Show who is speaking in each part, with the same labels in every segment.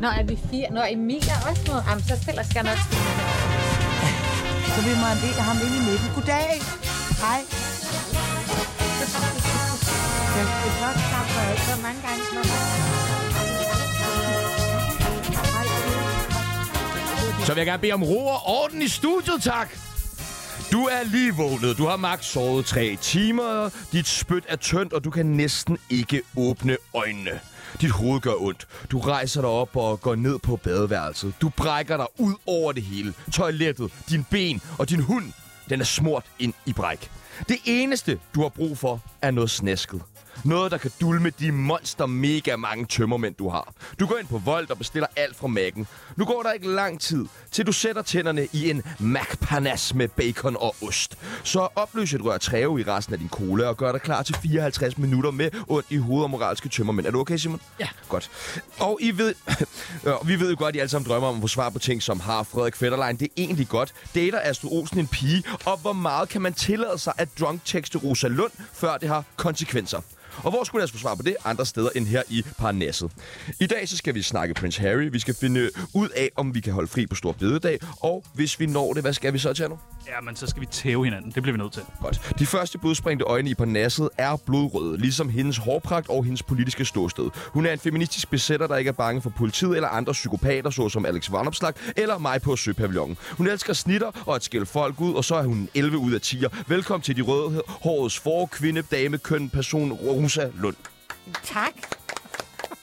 Speaker 1: når er vi fire? Når Emil er også med? Jamen, så stiller skal jeg nok stille mig her.
Speaker 2: Så vi må have ind- ham ind i midten. Goddag. Hej.
Speaker 1: Det er flot, tak for alt. Hvor mange gange slår man?
Speaker 3: Så vil jeg gerne bede om ro og orden i studiet, tak. Du er lige vågnet. Du har maks sovet tre timer. Dit spyt er tyndt, og du kan næsten ikke åbne øjnene. Dit hoved gør ondt. Du rejser dig op og går ned på badeværelset. Du brækker dig ud over det hele. Toilettet, din ben og din hund, den er smurt ind i bræk. Det eneste, du har brug for, er noget snæsket. Noget, der kan dulme de monster mega mange tømmermænd, du har. Du går ind på Volt og bestiller alt fra Mac'en. Nu går der ikke lang tid, til du sætter tænderne i en Mac med bacon og ost. Så opløs et rør træve i resten af din cola og gør dig klar til 54 minutter med ondt i hovedet og moralske tømmermænd. Er du okay, Simon? Ja. Godt. Og I ved, Øh, og vi ved jo godt, at I alle sammen drømmer om at få svar på ting som har Frederik Fetterlein det egentlig godt? Dater Astrid Olsen en pige? Og hvor meget kan man tillade sig at drunk tekste Rosa Lund, før det har konsekvenser? Og hvor skulle jeg altså få svar på det? Andre steder end her i Parnasset. I dag så skal vi snakke Prince Harry. Vi skal finde ud af, om vi kan holde fri på Stor Bededag. Og hvis vi når det, hvad skal vi så, Tjerno?
Speaker 4: Ja, men så skal vi tæve hinanden. Det bliver vi nødt til.
Speaker 3: Godt. De første blodsprængte øjne i Parnasset er blodrøde, ligesom hendes hårpragt og hendes politiske ståsted. Hun er en feministisk besætter, der ikke er bange for politiet eller andre psykopater, såsom Alex Vanopslag eller mig på Søpavillonen. Hun elsker snitter og at skælde folk ud, og så er hun en 11 ud af 10'er. Velkommen til de røde hårets for, kvinde, dame, køn, person, Rosa Lund.
Speaker 1: Tak.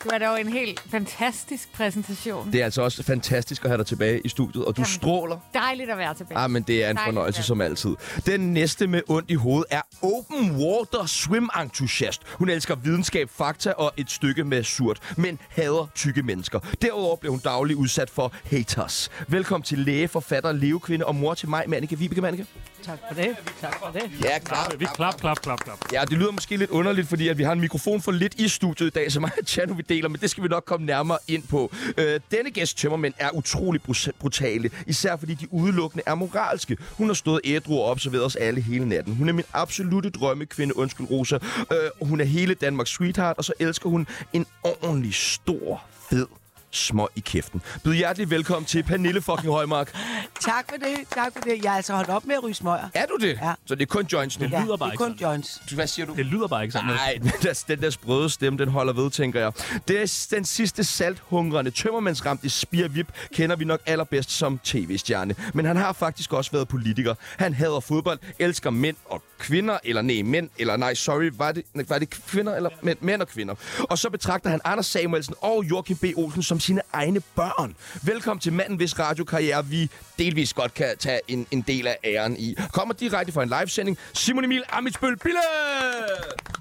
Speaker 1: Det var dog en helt fantastisk præsentation.
Speaker 3: Det er altså også fantastisk at have dig tilbage i studiet, og du
Speaker 1: Jamen.
Speaker 3: stråler.
Speaker 1: Dejligt at være tilbage.
Speaker 3: Ah, men det er en
Speaker 1: Tak,
Speaker 3: fornøjelse
Speaker 1: ja.
Speaker 3: som altid. Den næste med ondt i hovedet er open water swim entusiast. Hun elsker videnskab, fakta og et stykke med surt, men hader tykke mennesker. Derudover blev hun dagligt udsat for haters. Velkommen til læge, forfatter, levekvinde og mor til mig, Manneke Vibeke Manneke.
Speaker 5: Tak for det. Tak for det.
Speaker 3: Ja, klart.
Speaker 4: Vi klap, klap, klap, klap.
Speaker 3: Ja, det lyder måske lidt underligt, fordi at vi har en mikrofon for lidt i studiet i dag, som mig og Tjano vi deler, men det skal vi nok komme nærmere ind på. Øh, denne gæst tømmermænd er utrolig brus- brutale, især fordi de udelukkende er moralske. Hun har stået ædru og observeret os alle hele natten. Hun er min absolute drømmekvinde, undskyld Rosa. Øh, hun er hele Danmarks sweetheart, og så elsker hun en ordentlig stor, fed små i kæften. Byd hjertelig velkommen til Pernille fucking Højmark.
Speaker 2: Tak for det. Tak for det. Jeg er altså holdt op med at ryge smøger.
Speaker 3: Er du det?
Speaker 2: Ja.
Speaker 3: Så det er kun joints nu.
Speaker 2: Ja,
Speaker 4: lyder bare
Speaker 2: det er kun
Speaker 4: ikke
Speaker 2: Johns.
Speaker 3: Hvad siger du?
Speaker 4: Det lyder bare ikke sådan. vel?
Speaker 3: Nej, den der, den der sprøde stemme, den holder ved, tænker jeg. Det er den sidste salthungrende tømmermandsramt i Spir Vip, kender vi nok allerbedst som tv-stjerne. Men han har faktisk også været politiker. Han hader fodbold, elsker mænd og kvinder, eller nej, mænd, eller nej, sorry, var det, var det kvinder, eller mænd, mænd og kvinder. Og så betragter han Anders Samuelsen og Joachim B. Olsen som sine egne børn. Velkommen til manden, hvis radiokarriere vi delvis godt kan tage en, en del af æren i. Kommer direkte fra en livesending, Simon Emil Amitsbøl Bille!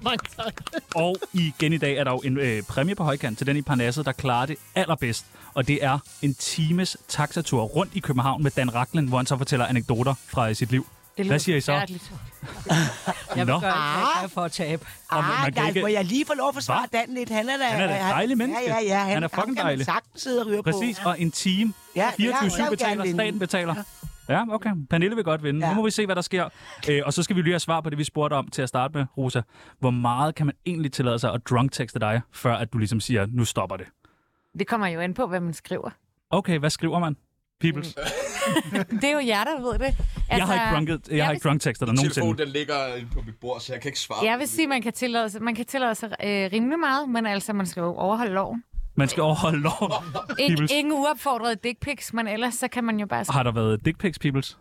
Speaker 5: Mange tak.
Speaker 4: Og igen i dag er der jo en øh, præmie på højkant til den i Parnasset, der klarer det allerbedst. Og det er en times taxatur rundt i København med Dan Raklen, hvor han så fortæller anekdoter fra øh, sit liv.
Speaker 1: det
Speaker 4: Hvad siger I så?
Speaker 5: Jeg
Speaker 4: Nå.
Speaker 5: vil gøre
Speaker 6: Ah.
Speaker 5: alt, hvad jeg kan for at tabe.
Speaker 4: Og man-
Speaker 2: Ah,
Speaker 4: man kan
Speaker 2: nej,
Speaker 4: ikke-
Speaker 2: må jeg lige få lov at forsvare Dan lidt? Han er da...
Speaker 4: Han er da et dejligt menneske.
Speaker 2: Ja, ja, ja.
Speaker 4: Han er fucking
Speaker 2: ham kan man
Speaker 4: dejlig.
Speaker 2: sagtens sidde og ryge
Speaker 4: Præcis,
Speaker 2: på.
Speaker 4: og en time.
Speaker 2: Ja,
Speaker 4: 24-7
Speaker 2: jeg vil gerne
Speaker 4: betaler,
Speaker 2: vinde.
Speaker 4: staten betaler. Ja, okay. Pernille vil godt vinde. Ja.
Speaker 2: Ja.
Speaker 4: Nu må vi se, hvad der sker. Æ, og så skal vi lige have svar på det, vi spurgte om til at starte med, Rosa. Hvor meget kan man egentlig tillade sig at drunk-tekste dig, før at du ligesom siger, nu stopper det?
Speaker 1: Det kommer jo an på, hvad man skriver.
Speaker 4: Okay, hvad skriver man? Peoples.
Speaker 1: Det er jo jer, der ved det. Mm, Altså,
Speaker 4: jeg har ikke drunket, jeg har
Speaker 1: vil-
Speaker 4: ikke drunk-tekster dig nogensinde.
Speaker 3: den ligger inde på mit bord, så jeg kan ikke svare.
Speaker 1: Jeg vil sige, at man kan tillade sig, man kan tillade sig øh, rimelig meget, men altså, man skal jo overholde loven.
Speaker 4: Man skal overholde loven. Peoples.
Speaker 1: Ikke, ingen uopfordrede dick pics, men ellers så kan man jo bare...
Speaker 4: Har der været dick pics, Peoples?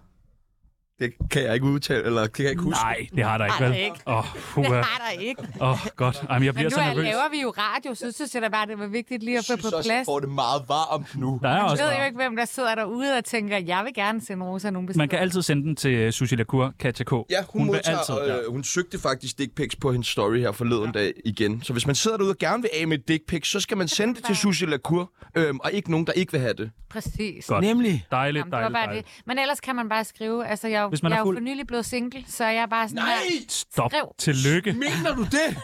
Speaker 3: Det kan jeg ikke udtale, eller det kan jeg ikke huske.
Speaker 4: Nej, det har der ikke,
Speaker 1: Nej,
Speaker 4: vel?
Speaker 1: det er ikke.
Speaker 4: Åh,
Speaker 1: Det
Speaker 4: puha.
Speaker 1: har der ikke.
Speaker 4: Åh, godt. Ej, men jeg
Speaker 1: Men
Speaker 4: bliver
Speaker 1: nu
Speaker 4: så
Speaker 1: er,
Speaker 4: nervøs.
Speaker 1: laver vi jo radio, så synes jeg da bare, det var vigtigt lige at få på plads.
Speaker 3: det meget varmt nu.
Speaker 4: Der er
Speaker 1: Man
Speaker 4: også
Speaker 1: ved jo ikke, hvem der sidder derude og tænker, jeg vil gerne sende Rosa nogle beskeder.
Speaker 4: Man kan altid sende den til øh, Susie Lacour, Katja K.
Speaker 3: Ja, hun, hun,
Speaker 4: vil
Speaker 3: modtager,
Speaker 4: altid,
Speaker 3: øh, hun søgte faktisk dick pics på hendes story her forleden ja. dag igen. Så hvis man sidder derude og gerne vil af med et dick pic, så skal man sende det til Susie Lacour, øhm, og ikke nogen, der ikke vil have det.
Speaker 1: Præcis.
Speaker 4: Godt.
Speaker 2: Nemlig.
Speaker 4: Dejligt,
Speaker 1: Jamen, det var
Speaker 4: dejligt,
Speaker 1: bare
Speaker 4: dejligt.
Speaker 1: det. Men ellers kan man bare skrive. Altså, jeg, er jo-
Speaker 4: Hvis man
Speaker 1: jeg
Speaker 4: er
Speaker 1: er jo
Speaker 4: fuld-
Speaker 1: for nylig blevet single, så jeg er bare sådan her,
Speaker 4: Stop.
Speaker 1: Skriv.
Speaker 4: Tillykke.
Speaker 3: Mener du det?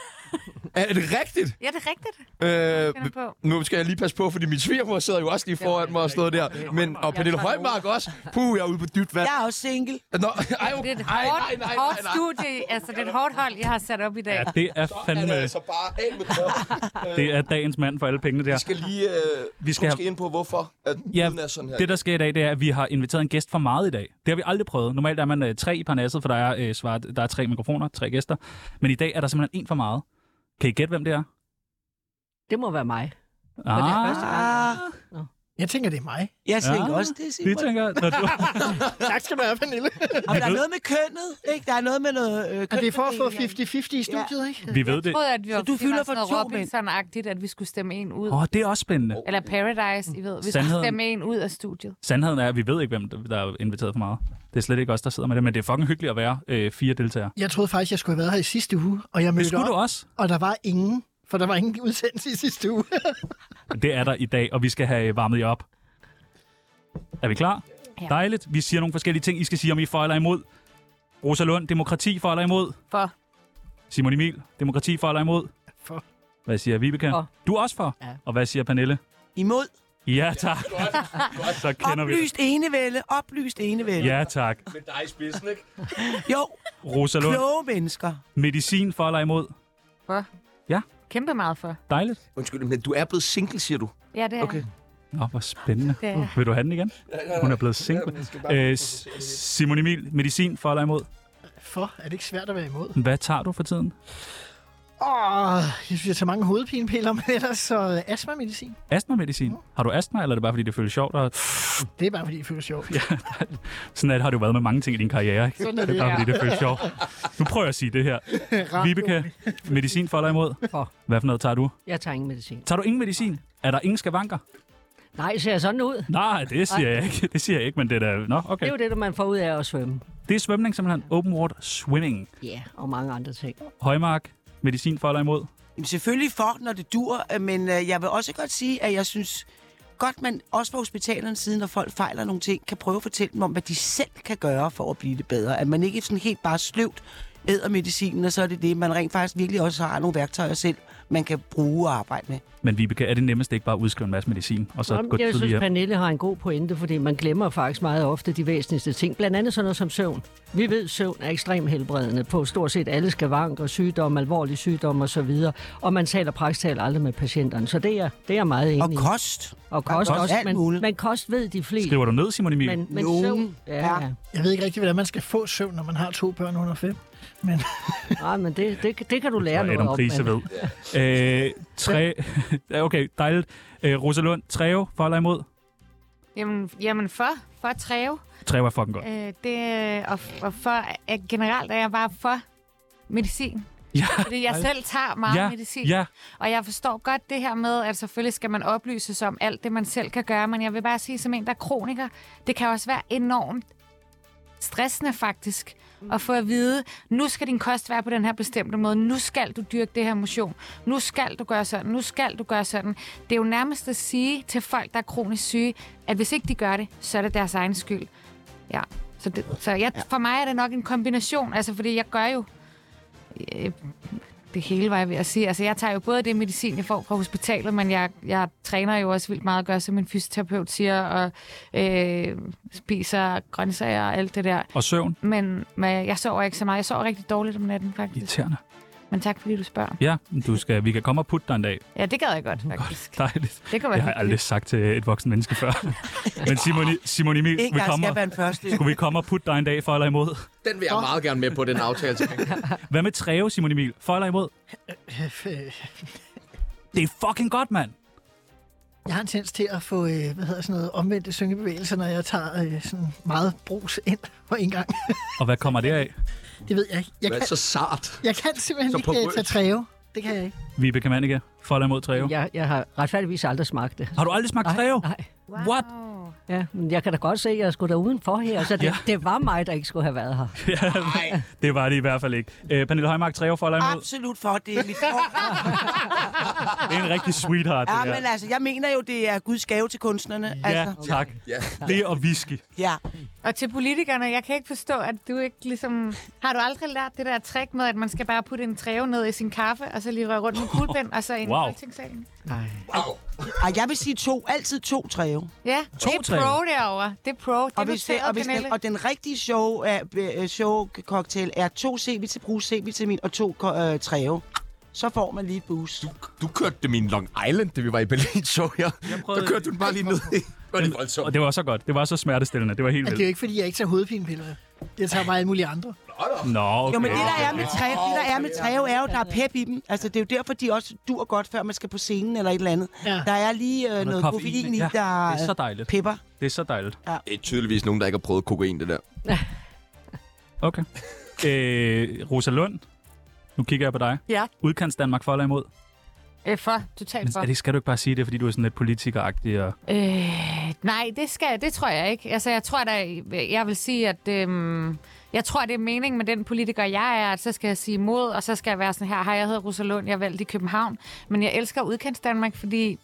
Speaker 7: Er det rigtigt?
Speaker 1: Ja, det er rigtigt.
Speaker 7: Øh,
Speaker 1: Finder på.
Speaker 7: nu skal jeg lige passe på, fordi min svigermor sidder jo også lige foran mig og stod der. Men, og Pernille
Speaker 1: Jeg er fra
Speaker 7: Højmark også. Puh, jeg er ude på dybt vand.
Speaker 2: Jeg er også single.
Speaker 7: Nå, ej,
Speaker 1: Det er et
Speaker 7: ej,
Speaker 1: hårdt,
Speaker 7: nej, nej, nej,
Speaker 1: hårdt
Speaker 7: nej.
Speaker 1: studie. Altså, det er et hårdt hold, jeg har sat op i dag.
Speaker 4: Ja, det er
Speaker 7: Er det
Speaker 4: fandme...
Speaker 7: altså bare af med kroppen.
Speaker 4: Det er dagens mand for alle pengene der.
Speaker 7: Vi skal lige øh, vi
Speaker 4: skal
Speaker 7: skal
Speaker 4: have-
Speaker 7: ind på, hvorfor at
Speaker 4: Ja,
Speaker 7: ja, er sådan her.
Speaker 4: Det, der sker i dag, det er, at vi har inviteret en gæst for meget i dag. Det har vi aldrig prøvet. Normalt er man øh, tre i parnasset, for der er, øh, svaret, der er tre mikrofoner, tre gæster. Men i dag er der simpelthen en for meget. Kan I gætte, hvem det er?
Speaker 8: Det må være mig.
Speaker 4: Ah,
Speaker 8: det er første gang.
Speaker 2: Ah,
Speaker 6: Jeg tænker, det er mig.
Speaker 2: jeg tænker
Speaker 4: Ja.
Speaker 2: også, det er
Speaker 4: det
Speaker 2: Simon.
Speaker 4: tænker jeg. Når du...
Speaker 6: Tak skal du have, Pernille.
Speaker 2: Og der er noget med kønnet, ikke? Der er noget med noget øh,
Speaker 6: Og det er for at få
Speaker 2: kønsfordeling.
Speaker 6: 50-50 i studiet, ikke?
Speaker 4: Vi ved det.
Speaker 1: Jeg troede, at vi var,
Speaker 2: du
Speaker 1: det var
Speaker 2: fylder
Speaker 1: sådan
Speaker 2: for
Speaker 1: noget
Speaker 2: to mænd.
Speaker 1: Robinson-agtigt, at vi skulle stemme en ud.
Speaker 4: Åh, oh, det er også spændende.
Speaker 1: Eller Paradise, I ved. Vi skulle
Speaker 4: Sandheden.
Speaker 1: stemme en ud af studiet.
Speaker 4: Sandheden er, at vi ved ikke, hvem der er inviteret for meget. Det er slet ikke os, der sidder med det, men det er fucking hyggeligt at være øh, fire deltagere.
Speaker 6: Jeg troede faktisk, jeg skulle have været her i sidste uge, og jeg
Speaker 4: Det
Speaker 6: mødte
Speaker 4: skulle du
Speaker 6: op,
Speaker 4: også.
Speaker 6: og der var ingen, for der var ingen udsendelse i sidste uge.
Speaker 4: Det er der i dag, og vi skal have øh, varmet jer op. Er vi klar?
Speaker 1: Ja.
Speaker 4: Dejligt. Vi siger nogle forskellige ting, I skal sige, om I for eller imod. Rosa Lund, demokrati for eller imod.
Speaker 1: For
Speaker 4: Simon Emil, demokrati for eller imod.
Speaker 6: For.
Speaker 4: Hvad siger Vibeke?
Speaker 8: For.
Speaker 4: Du er også for.
Speaker 8: Ja.
Speaker 4: Og hvad siger Pernille?
Speaker 2: Imod.
Speaker 4: Ja, tak. Så kender vi
Speaker 2: Oplyst enevælde. Oplyst enevælde.
Speaker 4: det. Ja, tak.
Speaker 7: Med dig i spidsen, ikke?
Speaker 2: Jo,
Speaker 4: Rosa Lund,
Speaker 2: kloge mennesker.
Speaker 4: medicin for eller imod.
Speaker 1: kæmpe meget for.
Speaker 4: Dejligt.
Speaker 7: Undskyld, men du er blevet single, siger du?
Speaker 1: Ja, det er
Speaker 7: Okay.
Speaker 4: Nå, hvor spændende.
Speaker 1: Det er-
Speaker 4: Vil du have den igen? Hun er blevet single. Øh, S- Simon Emil, medicin for eller imod.
Speaker 6: For er det ikke svært at være imod?
Speaker 4: Hvad tager du for tiden?
Speaker 6: Åh, jeg synes, jeg tager mange hovedpinepiller, men ellers så øh, astma-medicin.
Speaker 4: Astma-medicin. Har du astma, eller er det bare, fordi det føles sjovt? Og
Speaker 6: Det er bare, fordi det føles sjovt. Ja.
Speaker 4: sådan at har du været med mange ting i din karriere. Ikke?
Speaker 6: Sådan
Speaker 4: Det
Speaker 6: er
Speaker 4: er
Speaker 6: det,
Speaker 4: bare,
Speaker 1: ja.
Speaker 4: fordi det føles sjovt. Nu prøver jeg at sige det her. Vibeke, medicin for eller imod?
Speaker 8: For.
Speaker 4: Hvad for noget tager du?
Speaker 8: Jeg tager ingen medicin.
Speaker 4: Tager du ingen medicin? Er der ingen skavanker?
Speaker 8: Nej, ser jeg sådan ud?
Speaker 4: Nej, det siger jeg ikke. Det siger jeg ikke, men det er da... Nå,
Speaker 8: Det
Speaker 4: okay.
Speaker 8: er jo det, man får ud af at svømme.
Speaker 4: Det er svømning simpelthen. Open water swimming.
Speaker 8: Ja, og mange andre ting.
Speaker 4: Højmark, medicin for eller imod?
Speaker 2: Jamen, selvfølgelig for, når det dur, øh, men øh, jeg vil også godt sige, at jeg synes godt, man også på hospitalerne siden, når folk fejler nogle ting, kan prøve at fortælle dem om, hvad de selv kan gøre for at blive det bedre. At man ikke sådan helt bare sløvt æder medicinen, og så er det det, man rent faktisk virkelig også har nogle værktøjer selv, man kan bruge og arbejde med.
Speaker 4: Men Vibeke, er det nemmest ikke bare at udskrive en masse medicin, og så
Speaker 8: Jamen,
Speaker 4: gå
Speaker 8: jeg
Speaker 4: tidligere?
Speaker 8: synes, Pernille har en god pointe, fordi man glemmer faktisk meget ofte de væsentligste ting. Blandt andet sådan noget som søvn. Vi ved, at søvn er ekstremt helbredende på stort set alle skavanker, sygdomme, alvorlige sygdomme osv. Og man taler praktisk talt aldrig med patienterne. Så det er, det er jeg meget
Speaker 2: Og
Speaker 8: enig i.
Speaker 2: kost.
Speaker 8: Og kost
Speaker 2: Kost.
Speaker 8: også.
Speaker 2: Alt
Speaker 8: Men,
Speaker 2: muligt.
Speaker 8: men kost ved de fleste.
Speaker 4: Skriver du ned, Simon Emil?
Speaker 8: Men, men
Speaker 2: Nogen
Speaker 8: søvn, ja,
Speaker 2: per-
Speaker 8: ja.
Speaker 6: Jeg ved ikke rigtig, hvordan man skal få søvn, når man har to børn under fem. Men
Speaker 8: Nej, men det, det, det kan du lære
Speaker 4: og
Speaker 8: noget
Speaker 4: Adam
Speaker 8: om.
Speaker 4: Prise
Speaker 8: men-
Speaker 4: ved. Øh, tre... Ja, okay, dejligt. Øh, Rosalund, Treo, for eller imod?
Speaker 1: Jamen, jamen for, for at træve.
Speaker 4: Treo er fucking godt.
Speaker 1: Øh, det, og, og for, at generelt er jeg bare for medicin.
Speaker 4: Ja.
Speaker 1: Fordi jeg selv tager meget
Speaker 4: ja,
Speaker 1: medicin.
Speaker 4: ja.
Speaker 1: Og jeg forstår godt det her med, at selvfølgelig skal man oplyses om alt det, man selv kan gøre, men jeg vil bare sige, som en, der er kroniker, det kan også være enormt stressende faktisk at få at vide, nu skal din kost være på den her bestemte måde, nu skal du dyrke det her motion, nu skal du gøre sådan, nu skal du gøre sådan. Det er jo nærmest at sige til folk, der er kronisk syge, at hvis ikke de gør det, så er det deres egen skyld. Ja, så, det, så jeg, for mig er det nok en kombination, altså fordi jeg gør jo øh, det hele, var jeg ved at sige. Altså, jeg tager jo både det medicin, jeg får fra hospitalet, men jeg, jeg træner jo også vildt meget og gør, som min fysioterapeut siger, og øh, spiser grøntsager og alt det der.
Speaker 4: Og søvn?
Speaker 1: Men, men jeg sover ikke så meget. Jeg sover rigtig dårligt om natten, faktisk.
Speaker 4: Irriterende.
Speaker 1: Men tak, fordi du spørger.
Speaker 4: Ja, du skal, vi kan komme og putte dig en dag.
Speaker 1: Ja, det gad jeg godt, faktisk.
Speaker 4: Dejligt.
Speaker 1: Det kan
Speaker 4: Det
Speaker 1: være
Speaker 4: har jeg aldrig sagt til et voksen menneske før. Men Simon, Simon Emil,
Speaker 2: Ikke
Speaker 4: vi
Speaker 2: engang
Speaker 4: kommer,
Speaker 2: skal være en første.
Speaker 4: skulle vi komme og putte dig en dag for eller imod?
Speaker 3: Den vil jeg meget gerne med på, den aftale.
Speaker 4: Hvad med Treve, Simon Emil? For eller imod?
Speaker 6: øh,
Speaker 4: Det er fucking godt, mand.
Speaker 6: jeg har en tendens til at få øh, hvad hedder sådan noget, omvendte syngebevægelser, når jeg tager øh, sådan meget brus ind på en gang.
Speaker 4: Og hvad kommer det af?
Speaker 6: Det ved jeg ikke. Jeg
Speaker 3: Du er
Speaker 6: kan,
Speaker 3: så sart.
Speaker 6: jeg kan simpelthen
Speaker 3: så
Speaker 6: ikke øh,
Speaker 3: porøs.
Speaker 6: tage træve. Det kan jeg ikke.
Speaker 4: Vibeke Mannicke, for eller imod Treve?
Speaker 8: Jeg, jeg har retfærdigvis aldrig smagt det.
Speaker 4: Har du aldrig smagt Treve?
Speaker 8: Nej.
Speaker 4: What?
Speaker 8: Ja, men jeg kan da godt se, at jeg skulle da udenfor her, så det, ja. det var mig, der ikke skulle have været her.
Speaker 4: Nej. det var det i hvert fald ikke. Øh, Pernille Højmark, tre år for eller imod.
Speaker 2: Absolut for, det er mit for. Ah,
Speaker 4: Det er en rigtig sweetheart, det
Speaker 2: Ja,
Speaker 4: her.
Speaker 2: men altså, jeg mener jo, det er Guds gave til kunstnerne.
Speaker 4: Ja,
Speaker 2: Altså,
Speaker 4: tak.
Speaker 3: Ja.
Speaker 4: Det og whisky.
Speaker 2: ja.
Speaker 1: Og til politikerne, jeg kan ikke forstå, at du ikke ligesom... Har du aldrig lært det der trick med, at man skal bare putte en træve ned i sin kaffe, og så lige røre rundt med kuglepen, og så ind
Speaker 4: Wow.
Speaker 1: i folketingssalen?
Speaker 2: Ej, jeg vil sige to. Altid to træve.
Speaker 1: Ja,
Speaker 4: To
Speaker 1: det er
Speaker 4: træve.
Speaker 1: pro derovre. Det er pro. Det er
Speaker 2: Og, hvis det,
Speaker 1: noteret,
Speaker 2: og, hvis den,
Speaker 1: Pernille.
Speaker 2: og den rigtige show, uh, show cocktail er to C-vitamin, brug C-vitamin og to uh, træve. Så får man lige et boost.
Speaker 3: Du kørte det min Long Island, da vi var i Berlin, så jeg.
Speaker 4: prøvede-
Speaker 3: Der kørte du den bare lige ned i. Var det voldsomt?
Speaker 4: Og det var så godt. Det var så smertestillende. Det var helt
Speaker 6: Altså, det er jo
Speaker 4: vildt.
Speaker 6: ikke, fordi jeg ikke tager hovedpinepiller. Jeg tager bare alle mulige andre.
Speaker 4: Nå, okay.
Speaker 2: Jo, men det, der er med træve, det, der er med træve, er jo, der er pep i dem. Altså, det er jo derfor, de også dur godt, før man skal på scenen eller et eller andet.
Speaker 6: Ja.
Speaker 2: Der er lige øh, noget
Speaker 4: koffein,
Speaker 2: koffein i,
Speaker 4: ikke? Ja,
Speaker 2: der
Speaker 4: det er så dejligt.
Speaker 2: pepper.
Speaker 4: Det er så dejligt.
Speaker 3: Det er tydeligvis nogen, der ikke har prøvet kokain, det der.
Speaker 4: Okay. Øh, Rosa Lund, nu kigger jeg på dig.
Speaker 1: Ja.
Speaker 4: Udkants Danmark for eller imod?
Speaker 1: Øh, for, totalt
Speaker 4: Men
Speaker 1: for.
Speaker 4: er det, skal du ikke bare sige det, fordi du er sådan lidt politikeragtig? Og...
Speaker 1: Øh, nej, det skal det tror jeg ikke. Altså, jeg tror da, jeg vil sige, at øhm, jeg tror, det er meningen med den politiker, jeg er, at så skal jeg sige imod, og så skal jeg være sådan her, hej, jeg hedder Rosalund, jeg er valgt i København, men jeg elsker udkants Danmark, fordi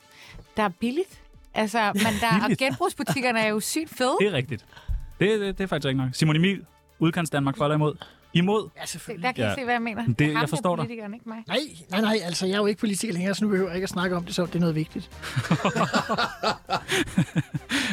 Speaker 1: der er billigt. Altså, men der, og
Speaker 4: Billigt?
Speaker 1: genbrugsbutikkerne er jo sygt fede.
Speaker 4: Det er rigtigt. Det, det, det er faktisk ikke nok. Simon Emil, Udkants Danmark for eller imod? Imod?
Speaker 6: Ja, selvfølgelig.
Speaker 1: Der kan ja.
Speaker 4: Ja.
Speaker 1: I se, hvad jeg mener.
Speaker 4: Det-
Speaker 1: er ham,
Speaker 4: jeg
Speaker 1: der
Speaker 4: forstår
Speaker 1: er
Speaker 4: dig.
Speaker 1: politikeren, ikke mig.
Speaker 6: Nej, nej, nej, altså jeg er jo ikke politiker længere, så nu behøver jeg ikke at snakke om det, så det er noget vigtigt.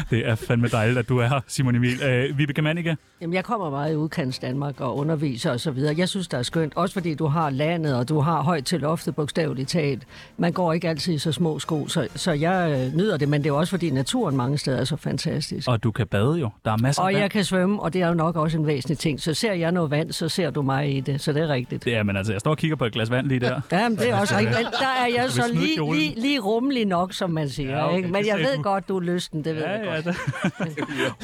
Speaker 4: Det er fandme dejligt, at du er her, Simon Emil. Øh, Vibeke Mannicke,
Speaker 8: Jamen, jeg kommer meget i udkants Danmark og underviser og så videre. Jeg synes, det er skønt, også fordi du har landet, og du har højt til loftet, bogstaveligt talt. Man går ikke altid i så små sko, så, så jeg øh, nyder det, men det er også fordi naturen mange steder er så fantastisk.
Speaker 4: og du kan bade jo. Der er masser af
Speaker 8: Og
Speaker 4: vand.
Speaker 8: jeg kan svømme, og det er jo nok også en væsentlig ting. Så ser jeg noget vand, så ser du mig i det, så det er rigtigt.
Speaker 4: Det er, men altså, jeg står og kigger på et glas vand lige der.
Speaker 8: Jamen, det er også rigtigt, men der er jeg
Speaker 4: Så vi
Speaker 8: så
Speaker 4: smider
Speaker 8: lige,
Speaker 4: kjolen.
Speaker 8: lige, lige rummelig nok, som man siger.
Speaker 4: Ja,
Speaker 8: Ja,
Speaker 4: okay,
Speaker 8: okay. ikke?
Speaker 4: det
Speaker 8: Men jeg
Speaker 4: sagde
Speaker 8: ved
Speaker 4: du.
Speaker 8: godt, du er lysten, det ved jeg
Speaker 4: Ja,
Speaker 8: godt.
Speaker 4: ja. Det.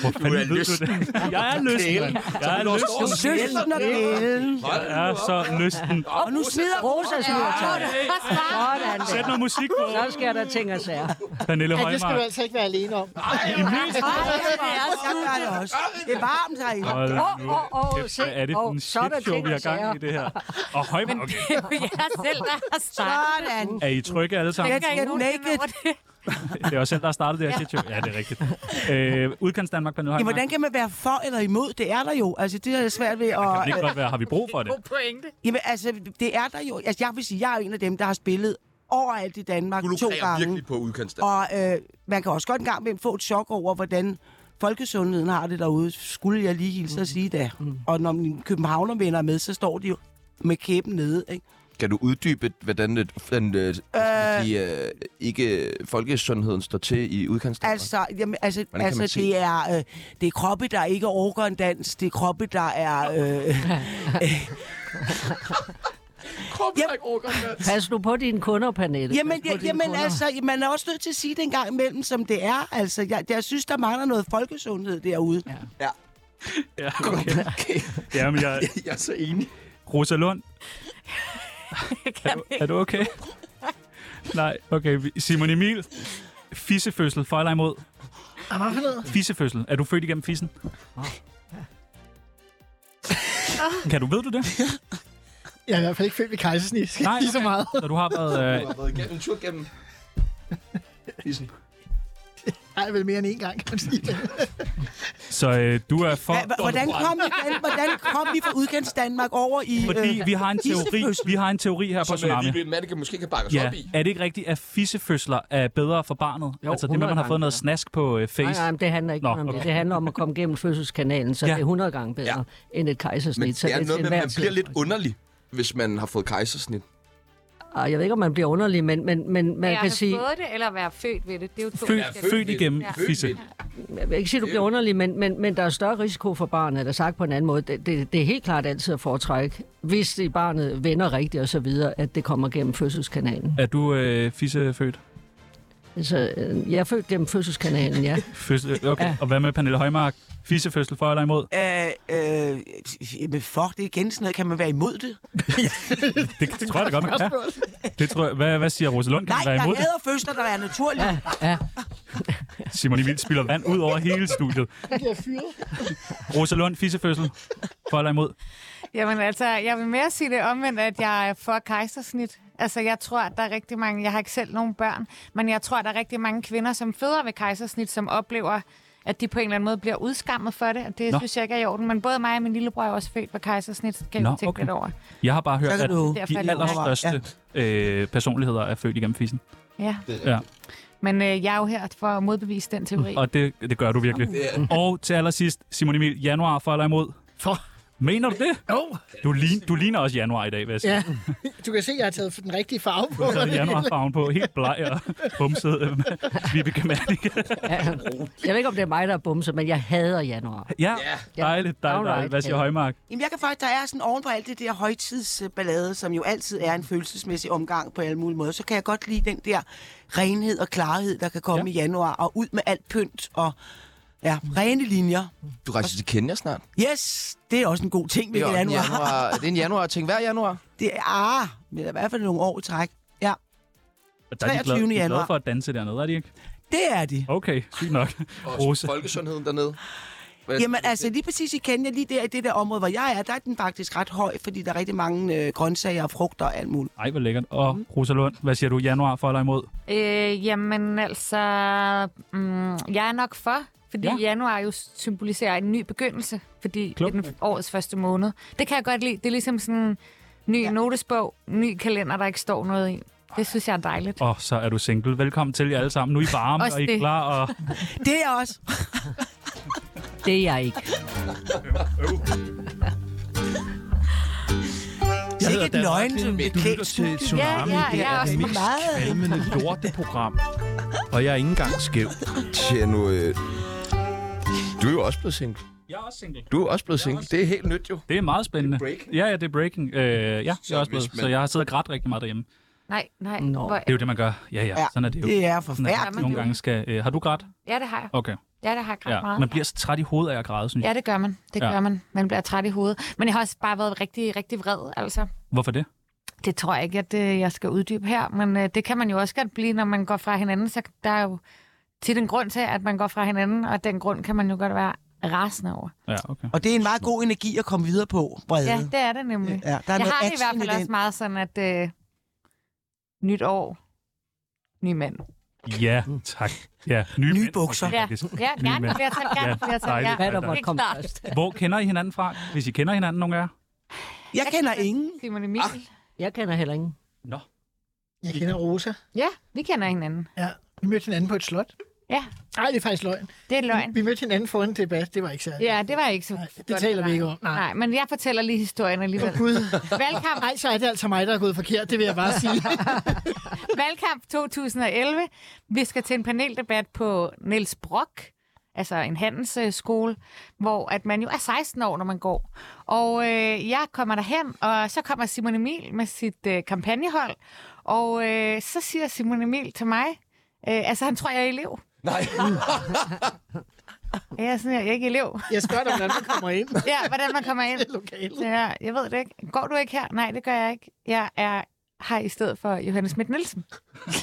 Speaker 4: Hvor fanden ved du
Speaker 3: lysten.
Speaker 4: det? Jeg er lysten. mand. Jeg er lysten.
Speaker 2: Lysten og kælen.
Speaker 4: Jeg er så lysten.
Speaker 2: Og nu smider
Speaker 8: Rosa smider tøj. Sådan
Speaker 4: Sæt
Speaker 8: der.
Speaker 4: noget musik på.
Speaker 8: Så sker der ting og sager.
Speaker 4: Pernille
Speaker 6: Ja, det skal du
Speaker 4: Højmark.
Speaker 6: altså ikke være alene om.
Speaker 2: Jeg gør det også. Det er varmt herinde.
Speaker 4: Hold nu
Speaker 8: Åh, åh, åh,
Speaker 4: kæft,
Speaker 8: se.
Speaker 4: Hvad er det for
Speaker 8: Åh,
Speaker 4: en
Speaker 8: så er der
Speaker 4: shit show,
Speaker 8: ting
Speaker 4: vi har
Speaker 8: og sager.
Speaker 4: gang i det her? Og Højmark, okay.
Speaker 1: Det er jo jer selv, der har startet.
Speaker 2: Sådan.
Speaker 4: Er I trygge alle sammen?
Speaker 1: Jeg kan
Speaker 2: get
Speaker 1: ikke nogen
Speaker 2: naked.
Speaker 1: over det.
Speaker 4: Det er også selv, der har startet det her shit show. Ja, det er rigtigt. Øh, Udkants Danmark, Pernille
Speaker 2: Ja,
Speaker 4: Højmark.
Speaker 2: hvordan kan man være for eller imod? Det er der jo. Altså, det er svært ved
Speaker 4: Kan det
Speaker 2: at...
Speaker 4: ikke godt være, har vi brug for det?
Speaker 1: God pointe.
Speaker 2: Jamen, altså, det er der jo. Altså, jeg vil sige, jeg er jo en af dem, der har spillet overalt i Danmark
Speaker 3: Du
Speaker 2: to
Speaker 3: lukrer
Speaker 2: gange.
Speaker 3: virkelig på udkantsdag.
Speaker 2: Og øh, man kan også godt en gang med få et chok over, hvordan folkesundheden har det derude, skulle jeg lige hilse at sige det. Og når mine københavnervenner er med, så står de jo med kæben nede. Ikke?
Speaker 3: Kan du uddybe, hvordan øh, den, øh, øh, de, øh, ikke folkesundheden står til i udkantsdag?
Speaker 2: Altså, jamen, altså,
Speaker 3: Hvordan kan man
Speaker 2: altså
Speaker 3: se
Speaker 2: det, er, øh, det er kroppe, der ikke overgår en dans. Det er kroppe, der er... Øh,
Speaker 3: Krop,
Speaker 2: der
Speaker 3: ikke overgår
Speaker 8: Pas nu på dine kunder, Pernille.
Speaker 2: Jamen,
Speaker 8: Pas på
Speaker 2: ja,
Speaker 8: dine
Speaker 2: jamen
Speaker 8: kunder.
Speaker 2: altså, man er også nødt til at sige det en gang imellem, som det er. Altså, jeg, jeg synes, der mangler noget folkesundhed derude. Ja.
Speaker 4: Ja, okay. Jamen, jeg...
Speaker 3: Jeg er så enig.
Speaker 4: Rosa Lund, er du, er du okay? Nej, okay. vi- Simon Emil, fissefødsel, for eller imod?
Speaker 6: Ah, hvad for noget?
Speaker 4: Fissefødsel. Er du født igennem fissen?
Speaker 2: Ah.
Speaker 4: Kan du, ved du det?
Speaker 6: Jeg er i hvert fald ikke født ved kejsersnit.
Speaker 4: Nej,
Speaker 6: Nej, lige så meget.
Speaker 4: Så du har været... Øh,
Speaker 3: har været igennem, en tur gennem.
Speaker 6: Nej, vel mere end én gang, kan man sige.
Speaker 4: så øh, du er for...
Speaker 2: Hva, hvordan, kom vi, den- hvordan kom vi fra udkants Danmark over i...
Speaker 4: Fordi
Speaker 2: øh,
Speaker 4: vi har en teori,
Speaker 2: fissefødsel?
Speaker 4: vi har en teori her på
Speaker 3: Som
Speaker 4: Tsunami.
Speaker 3: øh, Vibe Manneke måske kan bakke os
Speaker 4: Ja,
Speaker 3: op i.
Speaker 4: er det ikke rigtigt, at fissefødsler er bedre for barnet?
Speaker 8: Jo,
Speaker 4: altså det med, at
Speaker 8: 100
Speaker 4: man har fået
Speaker 8: gange
Speaker 4: noget snask på øh, face.
Speaker 8: Nej, nej, men det handler ikke
Speaker 4: Nå,
Speaker 8: Nå, om
Speaker 4: okay.
Speaker 8: det. Det handler om at komme gennem fødselskanalen, så
Speaker 4: Ja.
Speaker 8: ja. det er 100 gange bedre ja. end et kejsersnit.
Speaker 3: Men
Speaker 8: så
Speaker 3: det er noget med,
Speaker 8: til
Speaker 3: at
Speaker 8: enhver
Speaker 3: man bliver
Speaker 8: tid.
Speaker 3: lidt underlig, hvis man har fået kejsersnit.
Speaker 8: Ej, Jeg ved ikke, om man bliver underlig, men, men, men man
Speaker 1: Jeg
Speaker 8: kan
Speaker 1: har
Speaker 8: sige...
Speaker 1: fået det, eller være født ved det. Det er jo to
Speaker 4: Født,
Speaker 1: forskellige-
Speaker 4: født igennem
Speaker 1: Ja.
Speaker 4: fisse.
Speaker 8: Jeg vil ikke sige, du bliver underlig, men, men, men der er større risiko for barnet, eller sagt på en anden måde. Det, det, det er helt klart altid at foretrække, hvis det barnet vender rigtigt og så videre, at det kommer gennem fødselskanalen.
Speaker 4: Er du øh, fissefødt?
Speaker 8: Altså, øh, jeg er født gennem fødselskanalen, ja.
Speaker 4: Fødsel, okay.
Speaker 8: Ja.
Speaker 4: Og hvad med Pernille Højmark? Fissefødsel for eller imod?
Speaker 2: Øh, øh, jamen fuck, det er igen sådan noget. Kan man være imod det?
Speaker 4: Det, det tror jeg da godt, man kan. Det tror jeg, hvad, hvad siger Rosalund? Kan
Speaker 2: Nej,
Speaker 4: man være
Speaker 2: jeg
Speaker 4: imod det?
Speaker 2: hader fødsler, der er naturlige. Ja.
Speaker 8: ja.
Speaker 4: Simon Emil spiller vand ud over hele studiet.
Speaker 6: bliver fyret.
Speaker 4: Rosa Lund, fissefødsel. For eller imod?
Speaker 1: Jamen altså, jeg vil mere sige det omvendt, at jeg er for kejsersnit. Altså, jeg tror, at der er rigtig mange... Jeg har ikke selv nogen børn, men jeg tror, at der er rigtig mange kvinder, som føder ved kejsersnit, som oplever, at de på en eller anden måde bliver udskammet for det, og det
Speaker 4: Nå.
Speaker 1: Nå. synes jeg ikke er i orden. Men både mig og min lillebror er også født ved kejsersnit, kan
Speaker 4: Nå,
Speaker 1: jeg tænke
Speaker 4: okay.
Speaker 1: lidt over.
Speaker 4: Jeg har bare hørt,
Speaker 2: kan
Speaker 4: at
Speaker 2: du-
Speaker 4: de
Speaker 1: Derfor er det
Speaker 4: allerstørste ja. øh, personligheder er født igennem fissen.
Speaker 1: Ja.
Speaker 4: Ja.
Speaker 1: Men øh, jeg er jo her for at modbevise den teori.
Speaker 4: Og det, det gør du virkelig. Og til allersidst, Simon Emil, januar for eller imod?
Speaker 6: For.
Speaker 4: Mener du det?
Speaker 6: Jo,
Speaker 4: Du, lign, du ligner også januar i dag, vil jeg sige.
Speaker 6: ja. Du kan se, at jeg har taget den rigtige farve på.
Speaker 4: Så er det januarfarven på, helt bleg og bumset. øh, Vibeke Mannicke.
Speaker 8: Jeg ved ikke, om det er mig, der er bumset, men jeg hader januar.
Speaker 4: Ja, dejligt, dejligt, dejligt.
Speaker 8: Alright.
Speaker 4: Hvad siger Højmark?
Speaker 2: Jamen, jeg kan faktisk, der er sådan oven på alt det der højtidsballade, som jo altid er en følelsesmæssig omgang på alle mulige måder, så kan jeg godt lide den der renhed og klarhed, der kan komme ja. i januar, og ud med alt pynt og ja, rene linjer.
Speaker 3: Du rejser til Kenya snart.
Speaker 2: Yes, det er også en god ting ved
Speaker 3: Det er, en
Speaker 2: januar.
Speaker 3: januar. det er en januar ting hver januar.
Speaker 2: Det er, ah, men i hvert fald nogle år i træk. Ja,
Speaker 4: Der er de
Speaker 2: 23.
Speaker 4: glade, de er glade
Speaker 2: januar.
Speaker 4: for at danse dernede, er de ikke?
Speaker 2: det er de.
Speaker 4: Okay, sygt nok.
Speaker 3: Og
Speaker 4: Rosa.
Speaker 3: folkesundheden dernede. Hvordan-
Speaker 2: Jamen altså lige præcis i Kenya, lige der i det der område, hvor jeg er, der er den faktisk ret høj, fordi der er rigtig mange øh, grøntsager og frugter og alt muligt.
Speaker 4: Ej, hvor lækkert. Og Rosa Lund, hvad siger du? Januar for eller imod?
Speaker 1: Øh, jamen altså, mm, jeg er nok for, fordi
Speaker 4: Ja.
Speaker 1: ja. januar jo symboliserer en ny begyndelse, fordi
Speaker 4: Klogt.
Speaker 1: Klub. den årets første måned. Det kan jeg godt lide. Det er ligesom sådan en ny ja. notesbog, ny kalender, der ikke står noget i. Det synes jeg er dejligt.
Speaker 4: Og så er du single. Velkommen til jer alle sammen. Nu er I varme,
Speaker 1: Også
Speaker 4: og I er
Speaker 1: det.
Speaker 4: klar. Og...
Speaker 2: Det er også.
Speaker 8: Det er jeg ikke.
Speaker 2: Jeg
Speaker 9: hedder
Speaker 2: Sikke et
Speaker 9: Dan
Speaker 2: nøgen,
Speaker 9: Rachlin.
Speaker 2: som et
Speaker 9: Du lytter
Speaker 2: klædt
Speaker 9: til
Speaker 2: studie.
Speaker 9: Tsunami.
Speaker 1: Ja, ja,
Speaker 9: det
Speaker 1: jeg er
Speaker 9: er
Speaker 1: også
Speaker 9: det mest
Speaker 2: meget-
Speaker 9: kvalmende lorteprogram. Og jeg er ikke engang skæv.
Speaker 3: Tja, nu... Øh... Du er jo også blevet single.
Speaker 4: Jeg er også single.
Speaker 3: Du er også blevet single. Det er helt nyt jo.
Speaker 4: Det er meget spændende.
Speaker 3: Det er breaking.
Speaker 4: Ja, ja, det er breaking. Øh, ja, jeg
Speaker 3: Så
Speaker 4: er også blevet.
Speaker 3: hvis man-
Speaker 4: Så jeg har siddet og grædt rigtig meget derhjemme. Det
Speaker 1: Nej, nej.
Speaker 8: Nå.
Speaker 1: Hvor,
Speaker 4: er jo det, man gør. Ja, ja,
Speaker 2: Ja,
Speaker 4: sådan er det jo.
Speaker 2: Det er
Speaker 4: Sådan er det.
Speaker 2: forfærdeligt.
Speaker 4: Nogle gange skal... Øh, har du grædt?
Speaker 1: ja, det har jeg.
Speaker 4: Okay.
Speaker 1: Ja, det har jeg ja.
Speaker 4: Ja.
Speaker 1: meget.
Speaker 4: Man bliver så træt i hovedet af at græde, synes jeg.
Speaker 1: Ja, det gør man. Det
Speaker 4: Ja.
Speaker 1: gør man. Man bliver træt i hovedet. Men jeg har også bare været rigtig, rigtig vred, altså.
Speaker 4: Hvorfor det?
Speaker 1: Det tror jeg ikke, at øh, jeg skal uddybe her, men øh, det kan man jo også godt blive, når man går fra hinanden. Så der er jo tit en grund til, at man går fra hinanden, og den grund kan man jo godt være rasende over.
Speaker 4: Ja, okay.
Speaker 2: Og det er en meget god energi at komme videre på, Brede.
Speaker 1: Ja, det er det nemlig.
Speaker 2: Ja, der er
Speaker 1: Jeg
Speaker 2: noget
Speaker 1: har det i hvert
Speaker 2: action
Speaker 1: fald
Speaker 2: den.
Speaker 1: også meget sådan, at øh, nyt år, ny mand.
Speaker 4: Ja, tak. Ja, nye,
Speaker 2: Nye
Speaker 4: mænd,
Speaker 2: bukser.
Speaker 4: okay,
Speaker 1: Ja,
Speaker 4: faktisk.
Speaker 1: ja
Speaker 4: Ny
Speaker 1: gerne
Speaker 4: mand.
Speaker 1: flertal,
Speaker 4: Ja,
Speaker 1: gerne flertal.
Speaker 4: dejligt.
Speaker 1: Ja,
Speaker 8: Hvad der
Speaker 4: Helt
Speaker 8: måtte komme
Speaker 1: klart.
Speaker 8: først.
Speaker 4: Hvor kender I hinanden fra? Hvis I kender hinanden, nogen af jer?
Speaker 2: Jeg kender ingen.
Speaker 1: Simon
Speaker 6: Ah.
Speaker 1: Emil.
Speaker 8: Jeg kender heller ingen.
Speaker 4: Nå.
Speaker 6: Jeg kender Rosa.
Speaker 1: Ja, vi kender hinanden.
Speaker 6: Ja. Vi mødte hinanden på et slot.
Speaker 1: Ja,
Speaker 6: Nej, det er faktisk løgn.
Speaker 1: det er løgn.
Speaker 6: Vi mødte hinanden foran en debat. Det var ikke særligt.
Speaker 1: Ja, det var ikke så
Speaker 6: Nej, det
Speaker 1: godt,
Speaker 6: taler vi
Speaker 1: nej.
Speaker 6: ikke om. Nej.
Speaker 1: Nej, men jeg fortæller lige historien alligevel.
Speaker 6: Gud.
Speaker 1: Valgkamp
Speaker 6: Nej, så er det altså mig, der er gået forkert. Det vil jeg bare sige.
Speaker 1: Valgkamp 2011. Vi skal til en paneldebat på Niels Brock, altså en handelsskole, hvor at man jo er 16 år, når man går. Og øh, jeg kommer derhen, og så kommer Simon Emil med sit øh, kampagnehold, og øh, så siger Simon Emil til mig, øh, altså han tror, jeg er elev.
Speaker 3: Nej.
Speaker 1: Jeg er sådan, jeg er ikke elev.
Speaker 6: Jeg spørger dig, hvordan du kommer ind
Speaker 1: Ja, hvordan man kommer ind.
Speaker 6: i lokalet.
Speaker 1: Så jeg, jeg ved det ikke. Går du ikke her? Nej, det gør jeg ikke. Jeg er her i stedet for Johannes Schmidt Nielsen. det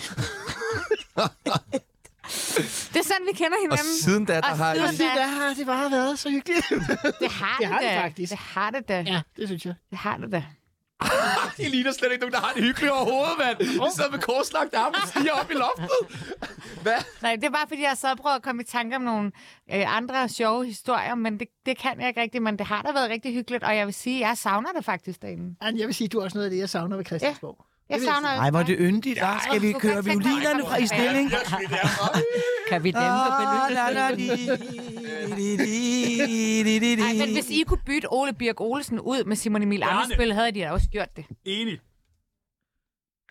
Speaker 1: er sådan, vi kender
Speaker 3: Og
Speaker 1: hinanden.
Speaker 3: siden da, der
Speaker 1: Og
Speaker 3: har
Speaker 1: siden
Speaker 3: I...
Speaker 6: Se, der har det bare været så hyggeligt.
Speaker 1: Det har det,
Speaker 6: har det
Speaker 1: da.
Speaker 6: faktisk.
Speaker 1: Det har det da.
Speaker 6: Ja, det synes jeg.
Speaker 1: Det har det da.
Speaker 3: I ligner slet ikke nogen, der har det hyggeligt overhovedet, mand. De sidder med korslagt arme og stiger op i loftet. Hvad?
Speaker 1: Nej, det er bare, fordi jeg så prøvet at komme i tanke om nogle øh, andre sjove historier, men det, det kan jeg ikke rigtigt. Men det har da været rigtig hyggeligt, og jeg vil sige, at jeg savner det faktisk derinde.
Speaker 6: Anne, jeg vil sige, du er også noget af det, jeg savner ved Christiansborg.
Speaker 1: Jeg savner
Speaker 2: Nej, hvor er det yndigt. Der skal vi
Speaker 1: du kan
Speaker 2: køre
Speaker 1: ikke tænke dig
Speaker 2: violinerne
Speaker 1: at
Speaker 2: fra i
Speaker 1: komme
Speaker 2: stilling.
Speaker 8: Kan vi dæmpe
Speaker 1: Ah.
Speaker 8: beløbet?
Speaker 1: Nej, men hvis I kunne bytte Ole Birk Olesen ud med Simon Emil
Speaker 4: Bjarne.
Speaker 1: Andersbøl, havde de da også gjort det.
Speaker 4: Enig.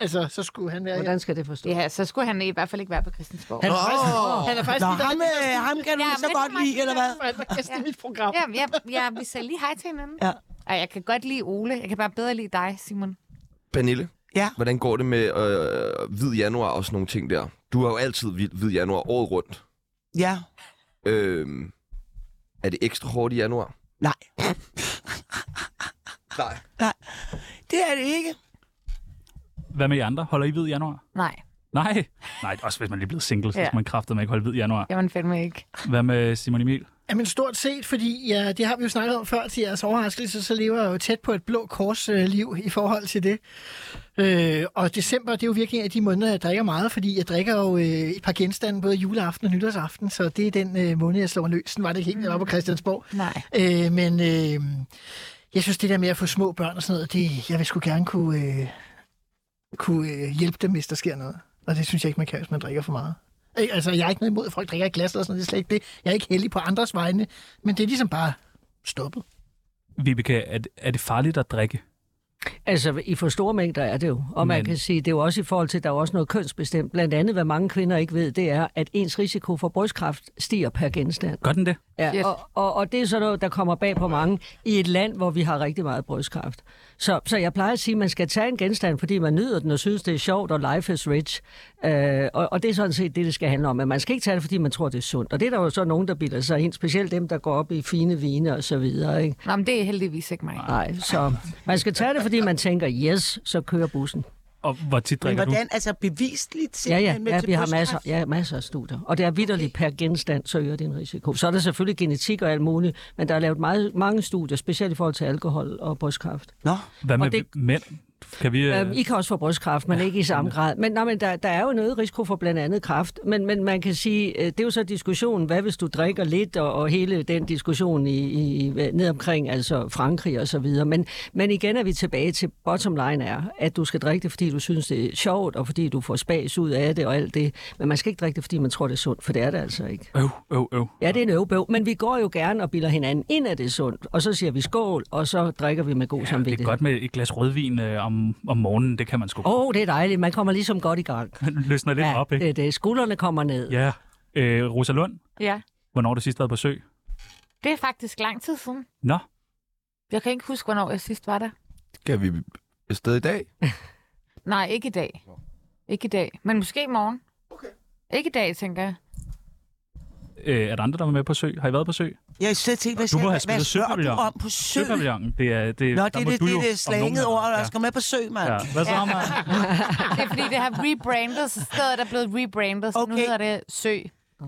Speaker 6: Altså, så skulle han være...
Speaker 8: Hvordan skal det forstås?
Speaker 1: Ja, så skulle han i hvert fald ikke være på Christiansborg.
Speaker 6: Han er faktisk... Han er faktisk
Speaker 2: Nå, ham, øh, ham kan du
Speaker 1: Ja,
Speaker 2: ikke så
Speaker 1: men
Speaker 2: godt
Speaker 1: det er
Speaker 2: lide, eller hvad?
Speaker 6: Han var gæst i mit program.
Speaker 1: Ja, ja, ja, vi sagde lige hej til hinanden.
Speaker 2: Ja.
Speaker 1: Og jeg kan godt lide Ole. Jeg kan bare bedre lide dig, Simon.
Speaker 3: Pernille,
Speaker 2: Ja.
Speaker 3: hvordan går det med øh, hvid januar og sådan nogle ting der? Du har jo altid hvid, hvid januar året rundt.
Speaker 2: Ja.
Speaker 3: Øhm, er det ekstra hårdt i januar?
Speaker 2: Nej,
Speaker 3: Nej.
Speaker 2: det er det ikke.
Speaker 4: Hvad med jer andre? Holder I ved januar?
Speaker 1: Nej.
Speaker 4: Nej. Nej, også hvis man lige er blevet single, så
Speaker 1: Ja.
Speaker 4: ja. man kraftede man ikke holde hvid i januar.
Speaker 1: Jamen fandme ikke.
Speaker 4: Hvad med Simon Emil?
Speaker 6: Jamen stort set, fordi ja, det har vi jo snakket om før til jeres overraskelse, så lever jeg jo tæt på et blå kors øh, liv i forhold til det. Øh, og december, det er jo virkelig en af de måneder, jeg drikker meget, fordi jeg drikker jo øh, et par genstande både juleaften og nytårsaften, så det er den øh, måned, jeg slår løs. Sådan var det ikke helt, jeg var på Christiansborg.
Speaker 1: Nej.
Speaker 6: Øh, men øh, jeg synes, det der med at få små børn og sådan noget, det, jeg vil sgu gerne kunne, øh, kunne øh, hjælpe dem, hvis der sker noget. Og det synes jeg ikke, man kan, hvis man drikker for meget. Ikke, altså, jeg er ikke noget imod, at folk drikker i glas og sådan noget. Det er slet ikke det. Jeg er ikke heldig på andres vegne. Men det er ligesom bare stoppet.
Speaker 4: Vibeke, er, det- er det farligt at drikke?
Speaker 8: Altså, i for store mængder er det jo. Og man
Speaker 4: Men-
Speaker 8: kan sige, det er jo også i forhold til, at der er jo også noget kønsbestemt. Blandt andet, hvad mange kvinder ikke ved, det er, at ens risiko for brystkræft stiger per genstand.
Speaker 4: Gør den det?
Speaker 8: Ja,
Speaker 1: Shit.
Speaker 8: og, og, og det er sådan noget, der kommer bag på mange i et land, hvor vi har rigtig meget brystkræft. Så, så jeg plejer at sige, at man skal tage en genstand, fordi man nyder den og synes, det er sjovt, og life is rich. Øh, og, og det er sådan set det, det skal handle om. Men man skal ikke tage det, fordi man tror, det er sundt. Og det er der jo så nogen, der bilder sig ind, specielt dem, der går op i fine vine og så videre. Ikke?
Speaker 1: Nå, men det er heldigvis ikke mig.
Speaker 8: Nej, så man skal tage det, fordi man tænker, yes, så kører bussen.
Speaker 4: Og hvor tit
Speaker 2: Men
Speaker 4: drikker du?
Speaker 2: hvordan, altså bevisligt simpelthen
Speaker 8: Ja, ja,
Speaker 2: med
Speaker 8: ja
Speaker 2: til
Speaker 8: vi har
Speaker 2: brystkræft?
Speaker 8: masser, ja, masser af studier. Og det er vidderligt per genstand, så øger det en risiko. Så er der selvfølgelig genetik og alt muligt, men der er lavet meget, mange studier, specielt i forhold til alkohol og brystkræft.
Speaker 2: Nå,
Speaker 4: Hvad med
Speaker 8: og det-
Speaker 4: mænd? Kan vi...
Speaker 8: Ja.
Speaker 4: Øh,
Speaker 8: Øhm, I kan også få brystkræft, men ikke i samme grad. Men, nej, men der, der er jo noget risiko for blandt andet kræft. Men, men man kan sige, øh, det er jo så diskussionen, hvad hvis du drikker lidt, og, og hele den diskussion i, i, i- ned omkring altså Frankrig og så videre. Men, men igen er vi tilbage til, bottom line er, at du skal drikke det, fordi du synes, det er sjovt, og fordi du får spas ud af det og alt det. Men man skal ikke drikke det, fordi man tror, det er sundt, for det er det altså ikke.
Speaker 4: øv, øv, øv.
Speaker 8: Ja, det er en øvebøv, men vi går jo gerne og bilder hinanden ind, at det er sundt, og så siger vi skål, og så drikker vi med god ja,
Speaker 4: Det
Speaker 8: samvittighed.
Speaker 4: er godt med et glas rødvin øh, om, om morgenen, det kan man sgu. Oh.
Speaker 8: Åh, oh, det er dejligt. Man kommer ligesom godt i gang.
Speaker 4: Man løsner lidt ja, op, ikke?
Speaker 8: det, er Øh, det. Skuldrene kommer ned. Ja.
Speaker 4: Ja. Øh, Rosa Lund,
Speaker 1: Ja.
Speaker 4: hvornår har du sidst været på sø?
Speaker 1: Det er faktisk lang tid siden.
Speaker 4: Nå,
Speaker 1: Jeg kan ikke huske, hvornår jeg sidst var der.
Speaker 3: Skal vi afsted i dag?
Speaker 1: Nej, ikke i dag. Ikke i dag, men måske i morgen. Okay. Ikke i dag, tænker jeg.
Speaker 4: øh, er der andre, der var med på sø? Har I været på sø?
Speaker 2: jeg har slet ikke, hvad,
Speaker 4: Du må
Speaker 2: siger-
Speaker 4: have
Speaker 2: hvad
Speaker 4: spillet
Speaker 2: spørger du
Speaker 4: søpavillon.
Speaker 2: om på sø?
Speaker 4: Søpavillonen, det er... Det,
Speaker 2: Nå,
Speaker 4: der
Speaker 2: det er
Speaker 4: må
Speaker 2: det,
Speaker 4: du
Speaker 2: det,
Speaker 4: jo
Speaker 2: det
Speaker 4: om
Speaker 2: slangede
Speaker 4: nogen-
Speaker 2: ord, der
Speaker 4: Ja.
Speaker 2: skal med på sø, mand.
Speaker 4: Ja. Hvad så,
Speaker 1: Ja.
Speaker 4: mand?
Speaker 1: Det er, fordi det har rebrandet, så stedet er blevet rebrandet, så nu
Speaker 2: Okay.
Speaker 1: hedder det Sø.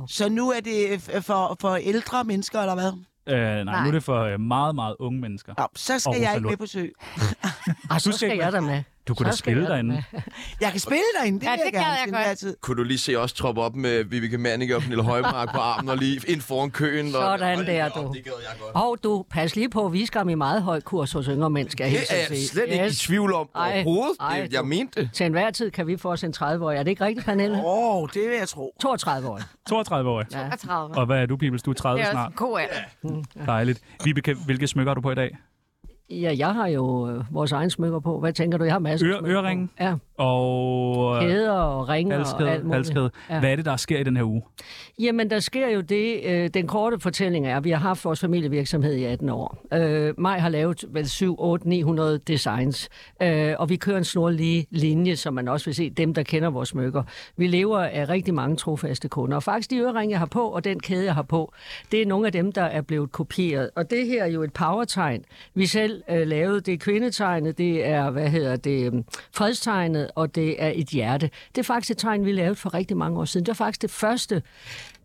Speaker 2: Så nu er det øh, for, for ældre mennesker, eller hvad?
Speaker 4: Øh, nej,
Speaker 1: Nej.
Speaker 4: nu er det for øh, meget, meget unge mennesker.
Speaker 2: Nå, så skal
Speaker 4: Og
Speaker 2: jeg
Speaker 4: Rosa
Speaker 2: ikke
Speaker 4: Lund.
Speaker 2: med på sø.
Speaker 8: Og Ah, så
Speaker 4: skal
Speaker 8: skal jeg der med.
Speaker 4: Du kunne
Speaker 8: Så
Speaker 4: da
Speaker 8: skal
Speaker 4: skille
Speaker 8: jeg
Speaker 4: derinde.
Speaker 8: med.
Speaker 2: Jeg kan spille derinde, det
Speaker 1: Ja,
Speaker 2: vil
Speaker 1: det
Speaker 2: jeg gerne.
Speaker 1: gad jeg
Speaker 2: til
Speaker 1: godt.
Speaker 2: enhver tid.
Speaker 3: Kunne du lige se os troppe op med Vibeke Manning og Pernille Højmark på armen og lige ind foran køen? og-
Speaker 8: Sådan
Speaker 3: Hold
Speaker 8: der,
Speaker 3: da op,
Speaker 8: du.
Speaker 3: Det gad jeg godt.
Speaker 8: Og du, pas lige på, vi skal i meget høj kurs hos yngre mænd, skal jeg
Speaker 3: Det
Speaker 8: helt
Speaker 3: er jeg
Speaker 8: sikkert
Speaker 3: slet ikke i
Speaker 8: Yes.
Speaker 3: tvivl om
Speaker 8: Ej,
Speaker 3: overhovedet.
Speaker 8: ej,
Speaker 3: Det- Jeg
Speaker 8: du-
Speaker 3: mente det.
Speaker 8: Til enhver tid kan vi få os en 30-årig. Er det ikke rigtigt, Pernille?
Speaker 2: Åh, oh, det vil jeg tro.
Speaker 8: 32 år.
Speaker 4: 32 år.
Speaker 8: Ja.
Speaker 1: 30.
Speaker 4: Og hvad er du, Pibels? Du er
Speaker 1: Det
Speaker 4: 30
Speaker 1: er også
Speaker 4: snart.
Speaker 1: en god alder.
Speaker 4: Dejligt. Vibeke, hvilke smykker har du på i dag?
Speaker 8: Ja, jeg har jo øh, vores egen smykker på. Hvad tænker du? Jeg har masser af
Speaker 4: Øre-
Speaker 8: smykker på.
Speaker 4: øreringe?
Speaker 8: Ja,
Speaker 4: Og... øh,
Speaker 8: kæder og ringer og alt
Speaker 4: Halskæde,
Speaker 8: muligt.
Speaker 4: halskæde.
Speaker 8: Ja.
Speaker 4: Hvad er det, der sker i den her uge?
Speaker 8: Jamen, der sker jo det. Øh, den korte fortælling er, at vi har haft vores familievirksomhed i 18 år. Øh, Maj har lavet vel 7, 8, 900 designs. Øh, og vi kører en snorlige linje, som man også vil se, dem der kender vores smykker. Vi lever af rigtig mange trofaste kunder. Og faktisk de øreringe, jeg har på, og den kæde, jeg har på, det er nogle af dem, der er blevet kopieret. Og det her er jo et powertegn. Vi selv øh, lavede det er kvindetegnet, det er, hvad hedder det, øhm, fredstegnet, og det er et hjerte. Det er faktisk et tegn, vi lavede for rigtig mange år siden. Det var faktisk det første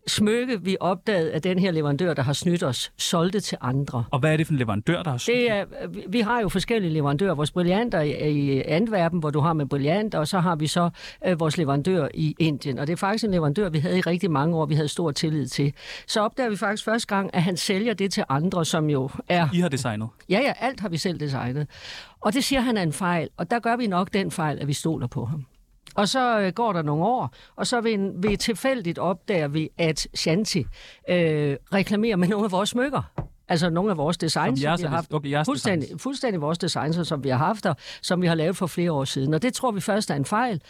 Speaker 8: smykke, vi opdagede, at den her leverandør, der har snydt os, solgte til andre.
Speaker 4: Og hvad er det for en leverandør, der har
Speaker 8: Det er, vi- vi har jo forskellige leverandører. Vores brillanter i i Antwerpen, hvor du har med brillanter, og så har vi så øh, vores leverandør i Indien. Og det er faktisk en leverandør, vi havde i rigtig mange år, vi havde stor tillid til. Så opdager vi faktisk første gang, at han sælger det til andre, som jo er
Speaker 4: I har designet?
Speaker 8: Ja, ja, alt har vi selv designet. Og det siger han er en fejl, og der gør vi nok den fejl, at vi stoler på ham. Og så øh, går der nogle år, og så ved, en, ved tilfældigt opdager vi, at Shanti øh, reklamerer med nogle af vores smykker. Altså nogle af vores designs,
Speaker 4: jeres
Speaker 8: vi har
Speaker 4: er-
Speaker 8: haft.
Speaker 4: okay, jeres
Speaker 8: fuldstændig, fuldstændig vores designs, som vi har haft, og som vi har lavet for flere år siden. Og det tror vi først er en fejl.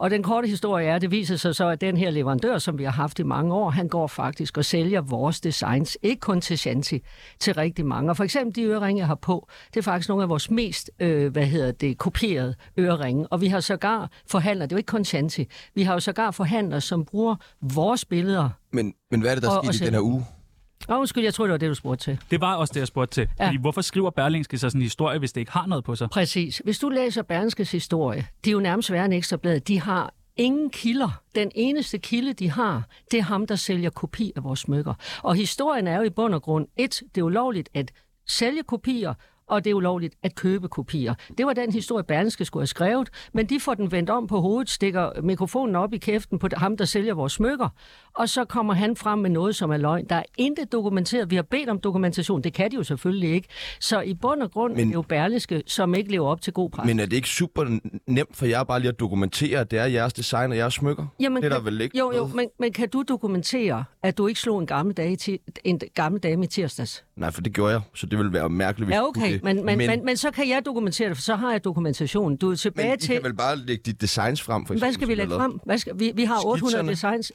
Speaker 8: Og den korte historie er, at det viser sig så, at den her leverandør, som vi har haft i mange år, han går faktisk og sælger vores designs, ikke kun til Shanti, til rigtig mange. Og for eksempel de øreringe, jeg har på, det er faktisk nogle af vores mest, øh, hvad hedder det, kopierede øreringe. Og vi har sågar forhandler, det er jo ikke kun Shanti, vi har jo sågar forhandlere, som bruger vores billeder.
Speaker 3: Men, men hvad er det, der
Speaker 8: Og-
Speaker 3: sker
Speaker 8: og
Speaker 3: i den her uge?
Speaker 8: Åh, undskyld, jeg tror, det var det, du spurgte til.
Speaker 4: Det var også det, jeg spurgte til. Ja.
Speaker 8: Ja.
Speaker 4: Fordi hvorfor skriver Berlingske så sådan en historie, hvis det ikke har noget på sig?
Speaker 8: Præcis. Hvis du læser Berlingskes historie, det er jo nærmest værre end ekstrablad. De har ingen kilder. Den eneste kilde, de har, det er ham, der sælger kopi af vores smykker. Og historien er jo i bund og grund, et, det er ulovligt at sælge kopier, og det er ulovligt at købe kopier. Det var den historie, Berlingske skulle have skrevet, men de får den vendt om på hovedet, stikker mikrofonen op i kæften på ham, der sælger vores smykker, og så kommer han frem med noget, som er løgn. Der er intet dokumenteret. Vi har bedt om dokumentation. Det kan de jo selvfølgelig ikke. Så i bund og grund men, er det jo Berlingske, som ikke lever op til god pres.
Speaker 3: Men er det ikke super n- nemt for jer bare lige at dokumentere, at det er jeres design og jeres smykker?
Speaker 8: Jamen,
Speaker 3: det er der
Speaker 8: kan-
Speaker 3: vel ikke
Speaker 8: Jo, jo,
Speaker 3: noget-
Speaker 8: men, men kan du dokumentere, at du ikke slog en gammel dame, ti, en gammel dame i tirsdags?
Speaker 3: Nej, for det gjorde jeg, så det ville være mærkeligt, hvis
Speaker 8: Ja,
Speaker 3: du kunne
Speaker 8: okay,
Speaker 3: det.
Speaker 8: men, men, men, men, men så kan jeg dokumentere det, for så har jeg dokumentation. Du er tilbage
Speaker 3: men I
Speaker 8: til...
Speaker 3: kan vel bare lægge dit designs frem, for eksempel.
Speaker 8: Hvad skal vi
Speaker 3: som
Speaker 8: lægge
Speaker 3: jeg lavede?
Speaker 8: frem? Hvad skal, vi, vi har 800
Speaker 3: Skitserne.
Speaker 8: designs.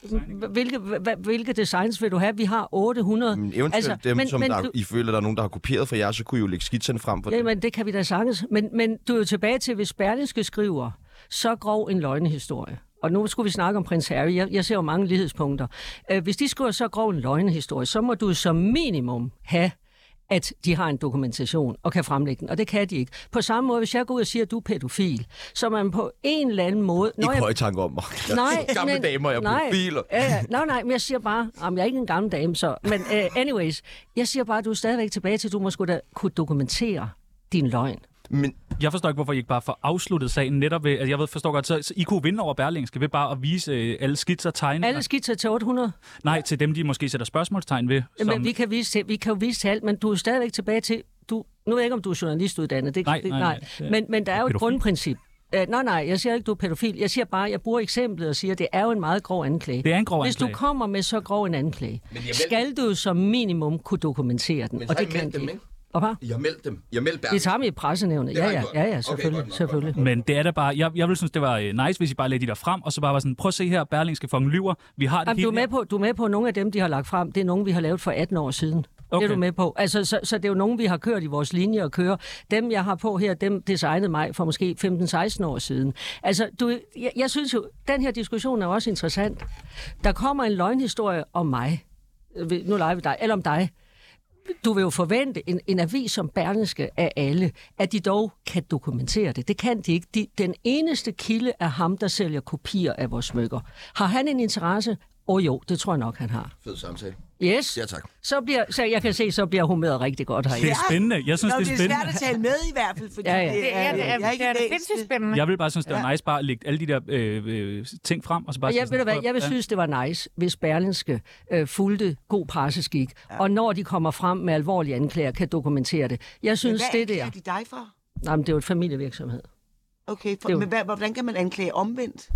Speaker 8: Hvilke, hva- hvilke designs vil du have? Vi har 800.
Speaker 3: Men Eventuelt altså, dem, men, som men, der,
Speaker 8: du,
Speaker 3: I føler, der er nogen, der har kopieret fra jer, så kunne I jo lægge skitserne frem for det.
Speaker 8: Jamen, det kan vi da sagtens. Men, men du er jo tilbage til, hvis Berlingske skriver så grov en løgnehistorie. Og nu skulle vi snakke om prins Harry. Jeg, jeg ser jo mange lighedspunkter. Øh, hvis de skriver så grov en løgnehistorie, så må du som minimum have at de har en dokumentation og kan fremlægge den, og det kan de ikke. På samme måde, hvis jeg går ud og siger, at du er pædofil, så er man på en eller anden måde... Nå,
Speaker 3: Ikke
Speaker 8: jeg-
Speaker 3: høje tanker om mig.
Speaker 8: Nej,
Speaker 3: Gamle
Speaker 8: men-
Speaker 3: damer, jeg er
Speaker 8: nej,
Speaker 3: pædofil, og-
Speaker 8: Ja, ja. nej, nej, men jeg siger bare, jamen, jeg er ikke en gammel dame, så... Men uh, anyways, jeg siger bare, at du er stadigvæk tilbage til, at du må sgu da kunne dokumentere din løgn.
Speaker 3: Men
Speaker 4: Jeg forstår ikke, hvorfor I ikke bare får afsluttet sagen netop ved, at jeg ved, forstår godt, så, så I kunne vinde over Berlingske ved bare at vise øh, alle skitser tegninger.
Speaker 8: Alle skitser til 800,
Speaker 4: Nej, til dem, de måske sætter spørgsmålstegn ved.
Speaker 8: som...
Speaker 4: som-
Speaker 8: men vi kan, vise til, vi kan jo vise til alt, men du er stadigvæk tilbage til, du, nu ved jeg ikke, om du er journalistuddannet, det,
Speaker 4: Nej,
Speaker 8: det,
Speaker 4: nej, nej. Det er-
Speaker 8: Men, men der er jo et
Speaker 4: Pædofil.
Speaker 8: grundprincip. Uh, nej, nej, jeg siger ikke, du er pædofil. Jeg siger bare, jeg bruger eksemplet og siger, at det er jo en meget grov anklage.
Speaker 4: Det er en grov
Speaker 8: Hvis du
Speaker 4: anklage.
Speaker 8: kommer med så grov en anklage, skal du jo som minimum kunne dokumentere den, og det kan de ikke. Og hvad?
Speaker 3: jeg meldte dem. Jeg meldte
Speaker 8: Det tager vi i pressenævnet. Ja,
Speaker 3: har I
Speaker 8: ja,
Speaker 3: gjort.
Speaker 8: ja,
Speaker 3: Okay,
Speaker 8: ja, selvfølgelig.
Speaker 3: godt nok,
Speaker 8: selvfølgelig.
Speaker 4: Men det er da bare, jeg, jeg ville synes, det var øh, nice, hvis I bare lagde de der frem, og så bare var sådan, prøv at se her, Berlingske fucking lyver, vi har det
Speaker 8: Jamen,
Speaker 4: hele
Speaker 8: du, er med
Speaker 4: her."
Speaker 8: på, du er med på, at nogle af dem, de har lagt frem, det er nogle, vi har lavet for 18 år siden. Okay.
Speaker 4: Okay.
Speaker 8: Det er du med på. Altså, så, så det er jo nogen, vi har kørt i vores linje og kører. Dem, jeg har på her, dem designede mig for måske 15-16 år siden. Altså, du, jeg, jeg synes jo, den her diskussion er også interessant. Der kommer en løgnhistorie om mig. Øh, vi- Nu leger vi dig. Eller om dig. Du vil jo forvente en, en avis som Berlingske af alle, at de dog kan dokumentere det. Det kan de ikke. De, den eneste kilde er ham, der sælger kopier af vores smykker. Har han en interesse? Åh oh, jo, det tror jeg nok, han har.
Speaker 3: Fed samtale.
Speaker 8: Yes.
Speaker 3: Ja, tak.
Speaker 8: Så bliver, så jeg kan se, så bliver humøret rigtig godt
Speaker 4: Det
Speaker 8: her.
Speaker 4: er spændende. Jeg synes,
Speaker 2: Nå,
Speaker 4: det er
Speaker 2: svært
Speaker 4: spændende.
Speaker 2: at tale med i hvert fald, fordi
Speaker 8: Ja, ja.
Speaker 1: Det er, det er,
Speaker 2: jeg har
Speaker 1: det
Speaker 2: ikke
Speaker 1: er, det er
Speaker 2: læst
Speaker 1: sindssygt spændende.
Speaker 4: Jeg ville bare synes, det var nice bare at lægge alle de der øh, øh, ting frem, og så bare
Speaker 8: Og
Speaker 4: sige
Speaker 8: jeg, ved du
Speaker 4: sådan,
Speaker 8: hvad,
Speaker 4: "Prøv-
Speaker 8: jeg vil
Speaker 4: ja."
Speaker 8: synes, det var nice, hvis Berlinske øh, fulgte god presseskik, og når de kommer frem med alvorlige anklager, kan dokumentere det. Jeg synes,
Speaker 2: Hvad
Speaker 8: det der...
Speaker 2: anklager de dig for?
Speaker 8: Nej, men det er jo et familievirksomhed.
Speaker 2: Okay, for,
Speaker 8: Det er jo-
Speaker 2: men hvad, hvordan kan man anklage omvendt?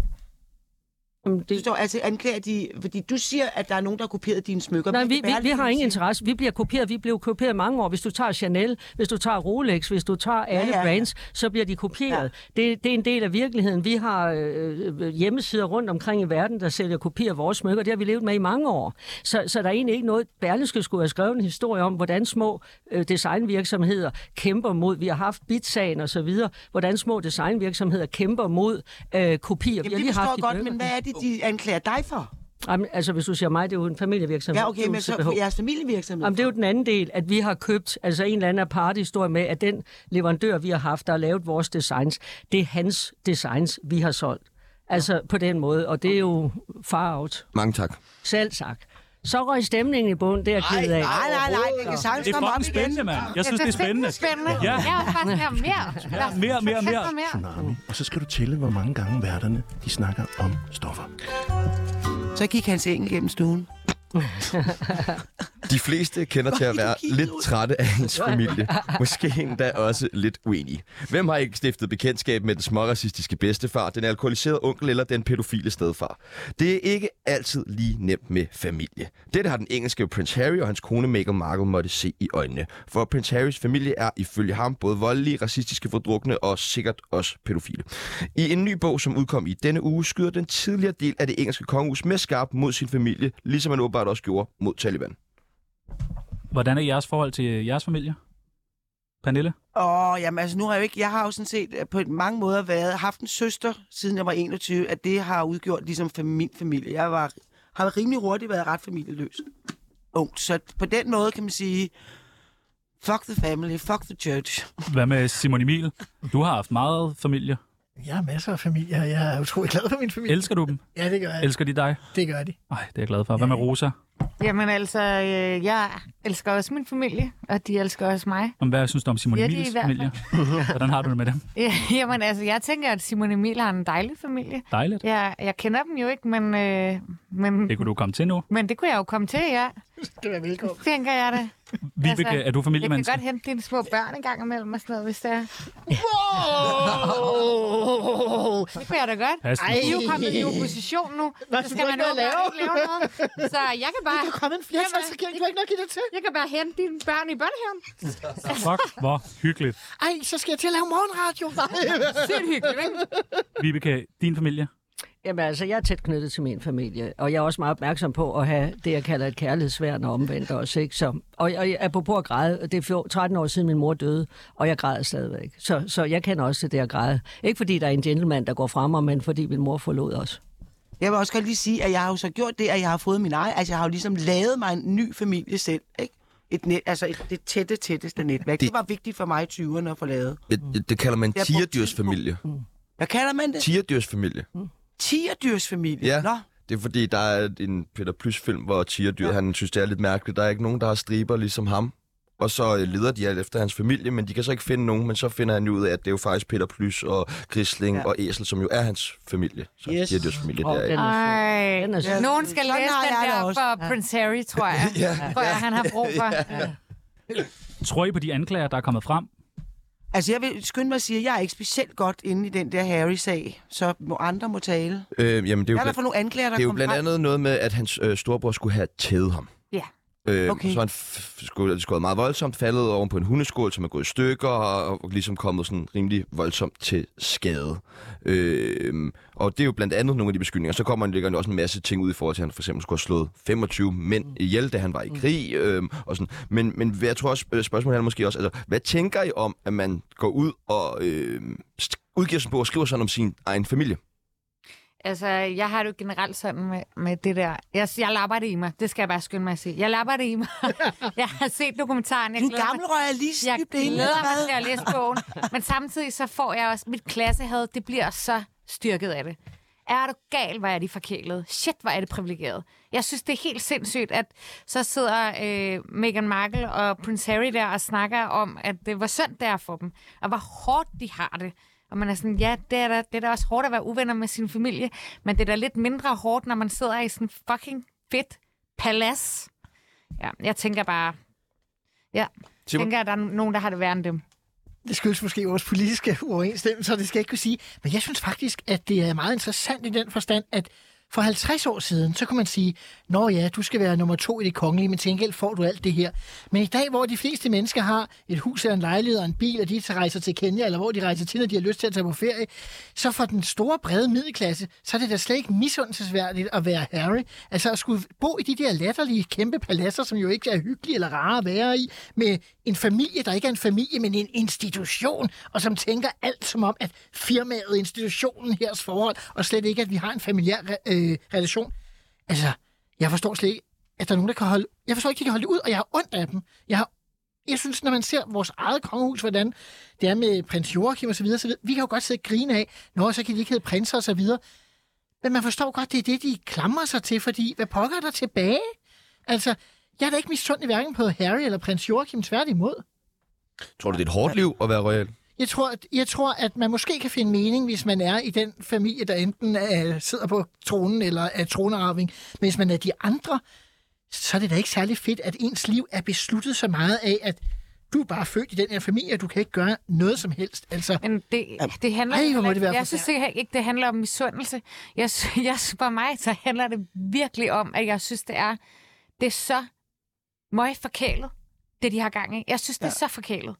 Speaker 8: Jamen,
Speaker 2: Du
Speaker 8: det,
Speaker 2: står, altså anklager de, fordi du siger, at der er nogen, der har kopieret dine smykker.
Speaker 8: Nej,
Speaker 2: Hvad
Speaker 8: vi,
Speaker 2: skal
Speaker 8: vi, vi
Speaker 2: Berlingske
Speaker 8: har ingen
Speaker 2: sige?
Speaker 8: interesse. Vi bliver kopieret. Vi blev kopieret i mange år. Hvis du tager Chanel, hvis du tager Rolex, hvis du tager alle
Speaker 2: ja,
Speaker 8: ja,
Speaker 2: ja.
Speaker 8: ja, brands, så bliver de kopieret. Ja. Det, det er en del af virkeligheden. Vi har øh, øh, hjemmesider rundt omkring i verden, der sælger kopier af vores smykker. Det har vi levet med i mange år. Så, så der er egentlig ikke noget... Berlingske skulle have skrevet en historie om, hvordan små øh, designvirksomheder kæmper mod... Vi har haft bitsagen og så videre. Hvordan små designvirksomheder kæmper mod øh, kopier. vi har
Speaker 2: Jamen, det
Speaker 8: lige haft
Speaker 2: forstår
Speaker 8: et
Speaker 2: godt,
Speaker 8: dykker.
Speaker 2: men hvad er det, de anklager dig for?
Speaker 8: Jamen, altså, hvis du siger mig, det er jo en familievirksomhed.
Speaker 2: Ja, okay, men så
Speaker 8: UCPH.
Speaker 2: for jeres familievirksomhed.
Speaker 8: Jamen, det er jo den anden del, at vi har købt altså en eller anden partyhistorie med, at den leverandør, vi har haft, der har lavet vores designs, det er hans designs, vi har solgt. Altså på den måde, og det er jo far out.
Speaker 3: Mange tak.
Speaker 8: Selv sagt. Så røg stemningen i bund, det er jeg ked af.
Speaker 2: Nej, nej, nej, det kan sagtens
Speaker 4: Det er
Speaker 2: komme op
Speaker 4: fucking
Speaker 2: igen.
Speaker 4: spændende, mand. Jeg synes, det er spændende.
Speaker 1: spændende.
Speaker 4: Ja.
Speaker 1: Ja. Jeg vil faktisk have mere. Ja,
Speaker 4: mere, mere, mere.
Speaker 1: mere.
Speaker 9: Tsunami. Og så skal du tælle, hvor mange gange værterne de snakker om stoffer.
Speaker 2: Så gik hans engel gennem stuen.
Speaker 3: De fleste kender til at
Speaker 2: Hvor er
Speaker 3: være
Speaker 2: du kigget
Speaker 3: lidt
Speaker 2: ud?
Speaker 3: trætte af ens familie. Måske endda også lidt uenige. Hvem har ikke stiftet bekendtskab med den småracistiske bedstefar, den alkoholiserede onkel eller den pædofile stedfar? Det er ikke altid lige nemt med familie. Dette har den engelske Prince Harry og hans kone Meghan Markle måtte se i øjnene. For Prince Harrys familie er ifølge ham både voldelige, racistiske, fordrukne og sikkert også pædofile. I en ny bog, som udkom i denne uge, skyder den tidligere del af det engelske kongehus med skarp mod sin familie, ligesom han åbenbart også gjorde mod Taliban.
Speaker 4: Hvordan er jeres forhold til øh, jeres familie? Pernille?
Speaker 2: Åh, jamen altså, nu har jeg jo ikke... Jeg har jo sådan set øh, på mange måder været, haft en søster, siden jeg var 21, at det har udgjort ligesom for min familie. Jeg var, har rimelig hurtigt været ret familieløs. Ungt. Så på den måde kan man sige, fuck the family, fuck the church.
Speaker 4: Hvad med Simon Emil? Du har haft meget familie.
Speaker 6: Jeg har masser af familie, og jeg er utrolig glad for min familie.
Speaker 4: Elsker du dem?
Speaker 6: Ja, det gør jeg.
Speaker 4: Elsker de dig?
Speaker 6: Det gør de.
Speaker 4: Nej, det er jeg glad for. Hvad med Rosa?
Speaker 1: Jamen altså, øh, jeg elsker også min familie, og de elsker også mig.
Speaker 4: Om hvad synes du om Simon
Speaker 1: Ja, de er i
Speaker 4: Emils
Speaker 1: hvert
Speaker 4: familie? Hvordan har du det med dem?
Speaker 1: Ja, Jamen altså, jeg tænker, at Simon Emil har en dejlig familie.
Speaker 4: Dejligt.
Speaker 1: Jeg, jeg kender dem jo ikke, men, øh, men,
Speaker 4: Det kunne du komme til nu.
Speaker 1: men det kunne jeg jo komme til, ja.
Speaker 6: Du er velkommen.
Speaker 1: Tænker jeg det.
Speaker 4: Vibeke,
Speaker 1: Altså,
Speaker 4: er du
Speaker 1: Jeg kan
Speaker 4: familiemenneske?
Speaker 1: godt hente dine små børn en gang imellem og sådan noget, hvis det er.
Speaker 6: Wow!
Speaker 1: Det kunne jeg da godt.
Speaker 4: Pas den.
Speaker 1: I er jo kommet i opposition nu,
Speaker 6: Hvad
Speaker 1: så
Speaker 6: skal
Speaker 1: skal
Speaker 6: du
Speaker 1: man
Speaker 6: ikke
Speaker 1: jo
Speaker 6: noget at
Speaker 1: lave? ikke lave noget. Så jeg kan bare,
Speaker 6: Der er kommet en flertalsregering, du har ikke nok i det til.
Speaker 1: jeg kan bare hente dine børn i børnehaven.
Speaker 4: Fuck, hvor hyggeligt.
Speaker 6: Ej, så skal jeg til at lave morgenradio. Nej.
Speaker 1: Sygt hyggeligt, ikke?
Speaker 4: Vibeke, din familie?
Speaker 8: Jamen altså, jeg er tæt knyttet til min familie, og jeg er også meget opmærksom på at have det, jeg kalder et kærlighedsværn og omvendt også. Ikke? Så, og, og apropos at græde, det er fjor- 13 år siden min mor døde, og jeg græder stadigvæk. Så, så jeg kender også til det at græde. Ikke fordi der er en gentleman, der går frem, men fordi min mor forlod os.
Speaker 2: Jeg vil også godt lige sige, at jeg har jo så gjort det, at jeg har fået min egen. Altså, jeg har jo ligesom lavet mig en ny familie selv, ikke? Et net, altså et, det tætte, tætteste netværk. Det,
Speaker 3: Det-
Speaker 2: det var vigtigt for mig i 20'erne at få lavet.
Speaker 3: Det, det kalder man
Speaker 2: Jeg brugte
Speaker 3: tierdyrsfamilie.
Speaker 2: Hvad kalder man det?
Speaker 3: Tierdyrsfamilie.
Speaker 2: Tierdyrsfamilie.
Speaker 3: Ja.
Speaker 2: Nå,
Speaker 3: Det er fordi, der er en Peter Plys-film, hvor tigerdyret, ja. han synes, det er lidt mærkeligt. Der er ikke nogen, der har striber ligesom ham. Og så øh, leder de alt efter hans familie, men de kan så ikke finde nogen. Men så finder han ud af, at det er jo faktisk Peter Plys og Grisling ja.
Speaker 2: Ja.
Speaker 3: og Æsel, som jo er hans familie. Så
Speaker 2: Yes.
Speaker 3: yes. tigerdyrsfamilie
Speaker 8: Og
Speaker 3: der.
Speaker 8: den
Speaker 3: ikke?
Speaker 8: er sød. Den
Speaker 1: Ej,
Speaker 8: er sød.
Speaker 1: nogen skal
Speaker 2: Sådan
Speaker 1: læse
Speaker 2: har
Speaker 1: den
Speaker 2: jeg det
Speaker 1: der
Speaker 2: også.
Speaker 1: for Prince Harry, tror jeg.
Speaker 3: Ja.
Speaker 1: Tror jeg, han har brug for.
Speaker 4: Tror I på de anklager, der er kommet frem?
Speaker 2: altså jeg vil skynde mig at sige, at jeg er ikke specielt godt inde i den der Harry-sag, så må andre må tale.
Speaker 3: Øh,
Speaker 2: Det
Speaker 3: jamen, det er
Speaker 2: er
Speaker 3: jo
Speaker 2: der
Speaker 3: blandt,
Speaker 2: for nogle anklager, der
Speaker 3: det er jo
Speaker 2: kom
Speaker 3: blandt
Speaker 2: frem.
Speaker 3: andet noget med, at hans øh, storebror skulle have tædet ham.
Speaker 1: Ja.
Speaker 3: Øh,
Speaker 2: Okay.
Speaker 3: okay. Så han f- skulle, skulle meget voldsomt faldet oven på en hundeskål, som er gået i stykker, og, og ligesom kommet sådan rimelig voldsomt til skade. Øh, og det er jo blandt andet nogle af de beskyldninger. Så kommer han ligger også en masse ting ud i forhold til, at han for eksempel skulle have slået 25 mænd ihjel, da han var i krig. Øh, og sådan. Men, men hvad- jeg tror også, øh, spørgsmålet er måske også, altså, hvad tænker I om, at man går ud og øh, st- udgiver sig på og skriver sådan om sin egen familie?
Speaker 1: Altså, jeg har det jo generelt sådan med, med det der. Jeg, jeg lapper det i mig. Det skal jeg bare skynde mig at sige. Jeg lapper det i mig. jeg har set dokumentaren. Jeg
Speaker 2: Du
Speaker 1: glæder
Speaker 2: er
Speaker 1: mig
Speaker 2: gammel royalist,
Speaker 1: Jeg
Speaker 2: du blev
Speaker 1: glæder mig til at læse bogen, men samtidig så får jeg også mit klassehad, det bliver så styrket af det. Er du gal, hvor er de forkælet? Shit, hvor er det privilegeret. Jeg synes, det er helt sindssygt, at så sidder øh, Meghan Markle og Prince Harry der og snakker om, at det var synd det er for dem, og hvor hårdt de har det. Og man er sådan, ja, det er, da, det er da også hårdt at være uvenner med sin familie, men det er da lidt mindre hårdt, når man sidder i sådan fucking fedt palads. Ja, jeg tænker bare, ja,
Speaker 3: Simon?
Speaker 1: tænker, at der er nogen, der har det værre end dem.
Speaker 6: Det skyldes måske vores politiske uoverensstemmelser, det skal jeg ikke kunne sige. Men jeg synes faktisk, at det er meget interessant i den forstand, at for 50 år siden, så kunne man sige, Nå ja, du skal være nummer to i det kongelige, men til gengæld får du alt det her. Men i dag, hvor de fleste mennesker har et hus eller en lejlighed og en bil, og de tager- rejser til Kenya, eller hvor de rejser til, når de har lyst til at tage på ferie, så for den store, brede middelklasse, så er det da slet ikke misundelsesværdigt at være Harry. Altså at skulle bo i de der latterlige kæmpe paladser, som jo ikke er hyggelige eller rare at være i, med en familie, der ikke er en familie, men en institution, og som tænker alt som om, at firmaet, institutionen, heres forhold, og slet ikke, at vi har en familiær øh, relation. Altså, jeg forstår slet ikke, at der er nogen, der kan holde... Jeg forstår ikke, de kan holde det ud, og jeg har ondt af dem. Jeg har jeg synes, når man ser vores eget kongehus, hvordan det er med prins Joachim osv., så videre, vi kan jo godt sidde og grine af, når så kan de ikke hedde prinser og så videre. Men man forstår godt, det er det, de klamrer sig til, fordi hvad pokker er der tilbage? Altså, jeg er da ikke misundelig hverken på Harry eller prins Joachim, tværtimod.
Speaker 3: Tror du, det er et hårdt liv at være royal?
Speaker 6: Jeg tror, at, jeg tror, at man måske kan finde mening, hvis man er i den familie, der enten er, sidder på tronen eller er tronarving. Men hvis man er de andre, så er det da ikke særlig fedt, at ens liv er besluttet så meget af, at du er bare født i den her familie, og du kan ikke gøre noget som helst. Altså,
Speaker 1: Men det, det handler...
Speaker 6: Ej, hvor må
Speaker 1: heller-
Speaker 6: det være
Speaker 1: jeg synes ikke, ikke, det handler om misundelse. Jeg, sy- jeg, sy- for mig så handler det virkelig om, at jeg synes, det er, det er så møg forkælet, det de har gang i. Jeg synes, det er så forkælet.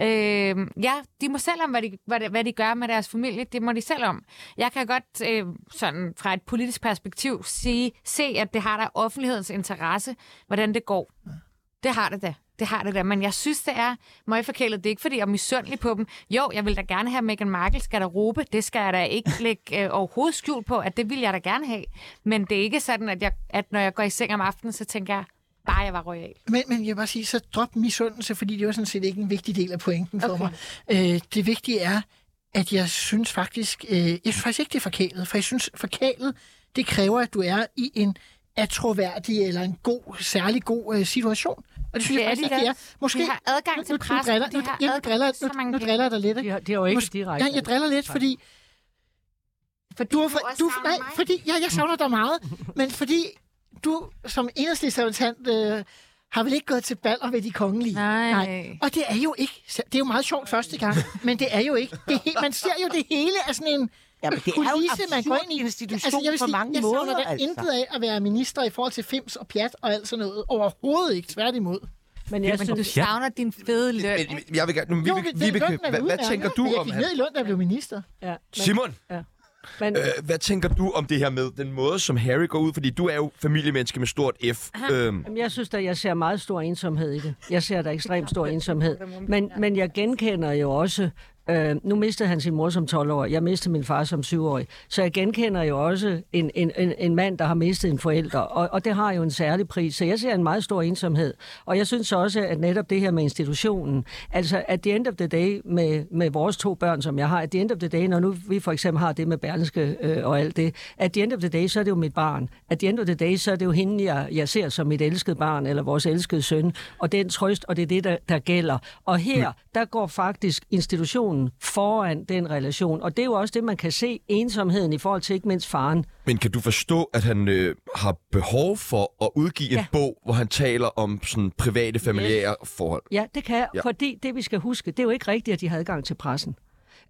Speaker 1: Øh, ja, de må selv om, hvad de, hvad, de- hvad de gør med deres familie. Det må de selv om. Jeg kan godt øh, sådan fra et politisk perspektiv sige, se, at det har der offentlighedens interesse, hvordan det går. Det har det da. Det har det da. Men jeg synes, det er møgforkælet. Det er ikke, fordi jeg er misundelig på dem. Jo, jeg vil da gerne have Meghan Markles garderobe. Det skal jeg da ikke lægge øh, overhovedet skjul på, at det vil jeg da gerne have. Men det er ikke sådan, at, jeg, at når jeg går i seng om aftenen, så tænker jeg, bare jeg var royal.
Speaker 6: men, men jeg vil bare sige, så drop misundelse, fordi det var sådan set ikke en vigtig del af pointen for okay. mig. Øh, det vigtige er, at jeg synes faktisk, øh, jeg synes faktisk ikke, det er forkælet, for jeg synes, forkælet, det kræver, at du er i en atroværdig eller en god, særlig god øh, situation. Og det synes
Speaker 1: Det
Speaker 6: jeg
Speaker 1: er
Speaker 6: faktisk
Speaker 1: de
Speaker 6: ikke, det
Speaker 1: da.
Speaker 6: er. Måske,
Speaker 1: De har adgang
Speaker 6: nu-
Speaker 1: til
Speaker 6: nu- nu
Speaker 1: pressen.
Speaker 6: driller-
Speaker 1: De
Speaker 6: nu-
Speaker 1: har
Speaker 6: ja, nu
Speaker 1: adgang til
Speaker 6: driller-
Speaker 1: så
Speaker 6: nu-
Speaker 1: mange
Speaker 6: Nu
Speaker 1: penge.
Speaker 6: driller jeg dig lidt.
Speaker 8: De
Speaker 6: ikke?
Speaker 8: har, de har jo ikke
Speaker 6: Mås-
Speaker 8: direkte.
Speaker 6: Ja, jeg driller lidt, fordi
Speaker 1: Fordi
Speaker 6: du, er fra,
Speaker 1: også
Speaker 6: du,
Speaker 1: savner
Speaker 6: nej,
Speaker 1: mig.
Speaker 6: fordi, ja, jeg savner dig meget, men fordi du som enhedslisterrepresentant øh, har vel ikke gået til baller ved de kongelige?
Speaker 1: Nej.
Speaker 6: Og det er jo ikke, det er jo meget sjovt første gang, men det er jo ikke, det er helt, man ser jo det hele af sådan en
Speaker 2: Ja, men det er jo
Speaker 6: kulisse, man går
Speaker 2: absurd
Speaker 6: ind i. Altså,
Speaker 2: institution
Speaker 6: jeg vil
Speaker 2: på
Speaker 6: sige,
Speaker 2: mange
Speaker 6: jeg
Speaker 2: måder,
Speaker 6: savner da
Speaker 2: altså.
Speaker 6: intet af at være minister i forhold til fims og pjat og alt sådan noget. Overhovedet ikke, tværtimod.
Speaker 8: Men jeg
Speaker 1: Men du
Speaker 8: synes,
Speaker 1: savner din fede løn.
Speaker 3: Men, men jeg vil gerne... Nu, vi,
Speaker 6: Jo,
Speaker 3: vi,
Speaker 6: det-
Speaker 3: vi, vi,
Speaker 6: lønnen er
Speaker 3: hvad, hvad
Speaker 6: udmærket,
Speaker 3: tænker du
Speaker 6: men
Speaker 3: om...
Speaker 6: Jeg
Speaker 3: Han?
Speaker 6: gik ned i løn, da jeg blev minister.
Speaker 8: ja, men,
Speaker 3: Simon,
Speaker 8: men,
Speaker 3: øh, hvad tænker du om det her med den måde, som Harry går ud? Fordi du er jo familiemenneske med stort F. Øhm,
Speaker 8: Jamen, jeg synes da, jeg ser meget stor ensomhed i det. Jeg ser da ekstremt stor ensomhed. Men, men jeg genkender jo også... Øh, nu mistede han sin mor som 12-årig. Jeg mistede min far som 7-årig. Så jeg genkender jo også en, en, en, en mand, der har mistet en forælder. Og, og det har jo en særlig pris. Så jeg ser en meget stor ensomhed. Og jeg synes også, at netop det her med institutionen... Altså, at the end of the day med, med vores to børn, som jeg har... At the end of the day, når nu vi for eksempel har det med Berlingske øh, og alt det... At the end of the day, så er det jo mit barn. At the end of the day, så er det jo hende, jeg, jeg ser som mit elskede barn, eller vores elskede søn, og den trøst, og det er det, der, der gælder. Og her, der går faktisk institutionen foran den relation, og det er jo også det, man kan se ensomheden i forhold til ikke mindst faren.
Speaker 3: Men kan du forstå, at han øh, har behov for at udgive ja. en bog, hvor han taler om sådan private familiære yes. forhold?
Speaker 8: Ja, det kan jeg,
Speaker 3: Ja.
Speaker 8: ja. fordi det, vi skal huske, det er jo ikke rigtigt, at de har adgang til pressen.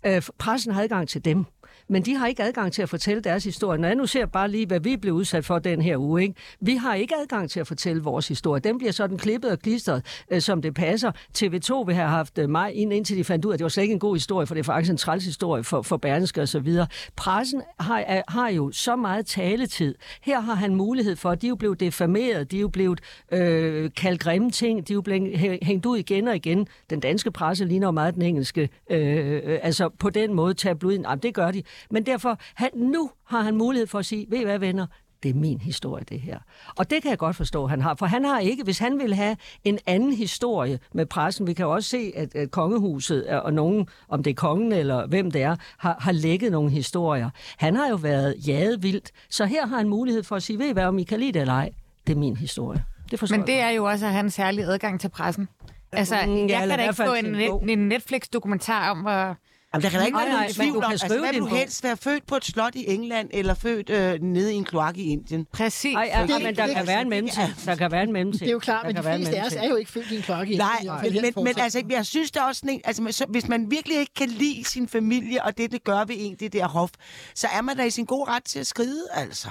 Speaker 8: Øh, f- pressen har adgang til dem, men de har ikke adgang til at fortælle deres historie. Når jeg nu ser bare lige, hvad vi blev udsat for den her uge, ikke? vi har ikke adgang til at fortælle vores historie. Den bliver sådan klippet og klistret, øh, som det passer. TV2 vil have haft øh, mig ind, indtil de fandt ud af, at det var slet ikke en god historie, for det er faktisk en træls historie for, for Berlingske og så videre. Pressen har, er, har jo så meget taletid. Her har han mulighed for, at de er jo blevet defameret, de er jo blevet øh, kaldt grimme ting, de er jo blevet hæ- hængt ud igen og igen. Den danske presse ligner jo meget den engelske. Øh, øh, altså på den måde tabloiden, jamen det gør de. Men derfor, han, nu har han mulighed for at sige, ved I hvad venner, det er min historie, det her. Og det kan jeg godt forstå, han har. For han har ikke, hvis han vil have en anden historie med pressen, vi kan jo også se, at, at kongehuset øh, og nogen, om det er kongen eller hvem det er, har, har lægget nogle historier. Han har jo været jaget vildt, så her har han mulighed for at sige, ved I hvad, om I kan lide det eller ej, det er min historie. Det forstår
Speaker 1: Men
Speaker 8: jeg
Speaker 1: det er jo også at have en særlig adgang til pressen. Altså,
Speaker 8: Mm,
Speaker 1: jeg
Speaker 8: ja, eller
Speaker 1: kan
Speaker 8: i
Speaker 1: da ikke
Speaker 8: hvert fald
Speaker 1: få
Speaker 8: til
Speaker 1: en,
Speaker 8: en bog.
Speaker 1: net- en Netflix-dokumentar om, hvor...
Speaker 2: Jamen, der kan da ikke
Speaker 8: Nej,
Speaker 2: være nogen
Speaker 8: nej, men du
Speaker 2: tvivl
Speaker 8: kan
Speaker 2: om, altså,
Speaker 8: skrive
Speaker 2: hvad
Speaker 8: din
Speaker 2: vil du
Speaker 8: bog.
Speaker 2: helst være født på et slot i England, eller født øh, nede i en kloak i Indien?
Speaker 1: Præcis.
Speaker 8: godt. Ej, ja,
Speaker 6: Det-
Speaker 8: men der
Speaker 6: det-
Speaker 8: kan være en mellemting. Der kan være en mellemting.
Speaker 6: Det er jo klart,
Speaker 8: Der
Speaker 6: men de
Speaker 8: kan være en
Speaker 6: fleste af os
Speaker 8: mellemting.
Speaker 6: er jo ikke født i en klokke. i-
Speaker 2: Nej,
Speaker 6: i- i- i-
Speaker 2: men, men, men
Speaker 6: fortsat.
Speaker 2: altså, jeg synes der også, sådan en- altså, men så, hvis man virkelig ikke kan lide sin familie, og det, det gør ved en, det der hof, så er man da i sin gode ret til at skride, altså.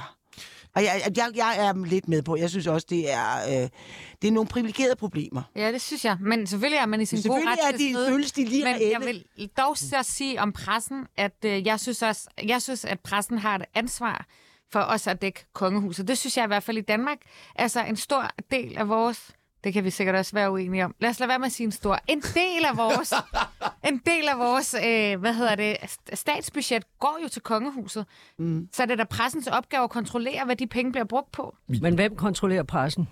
Speaker 2: Og jeg, jeg, jeg er lidt med på, jeg synes også, det er, øh, det er nogle privilegerede problemer.
Speaker 1: Ja, det synes jeg. Men selvfølgelig er man i sin gode
Speaker 2: Selvfølgelig
Speaker 1: ret
Speaker 2: er
Speaker 1: til at
Speaker 2: de,
Speaker 1: skride.
Speaker 2: føles de lige
Speaker 1: Men
Speaker 2: reelle.
Speaker 1: jeg vil dog så sige om pressen, at øh, jeg, synes også, jeg synes, at pressen har et ansvar for os at dække kongehuset. Det synes jeg i hvert fald i Danmark. Altså en stor del af vores... Det kan vi sikkert også være uenige om. Lad os lade være med at sige en stor... En del af vores, en del af vores øh, hvad hedder det, st- statsbudget går jo til kongehuset. Mm. Så er det da pressens opgave at kontrollere, hvad de penge bliver brugt på.
Speaker 8: Men hvem kontrollerer pressen?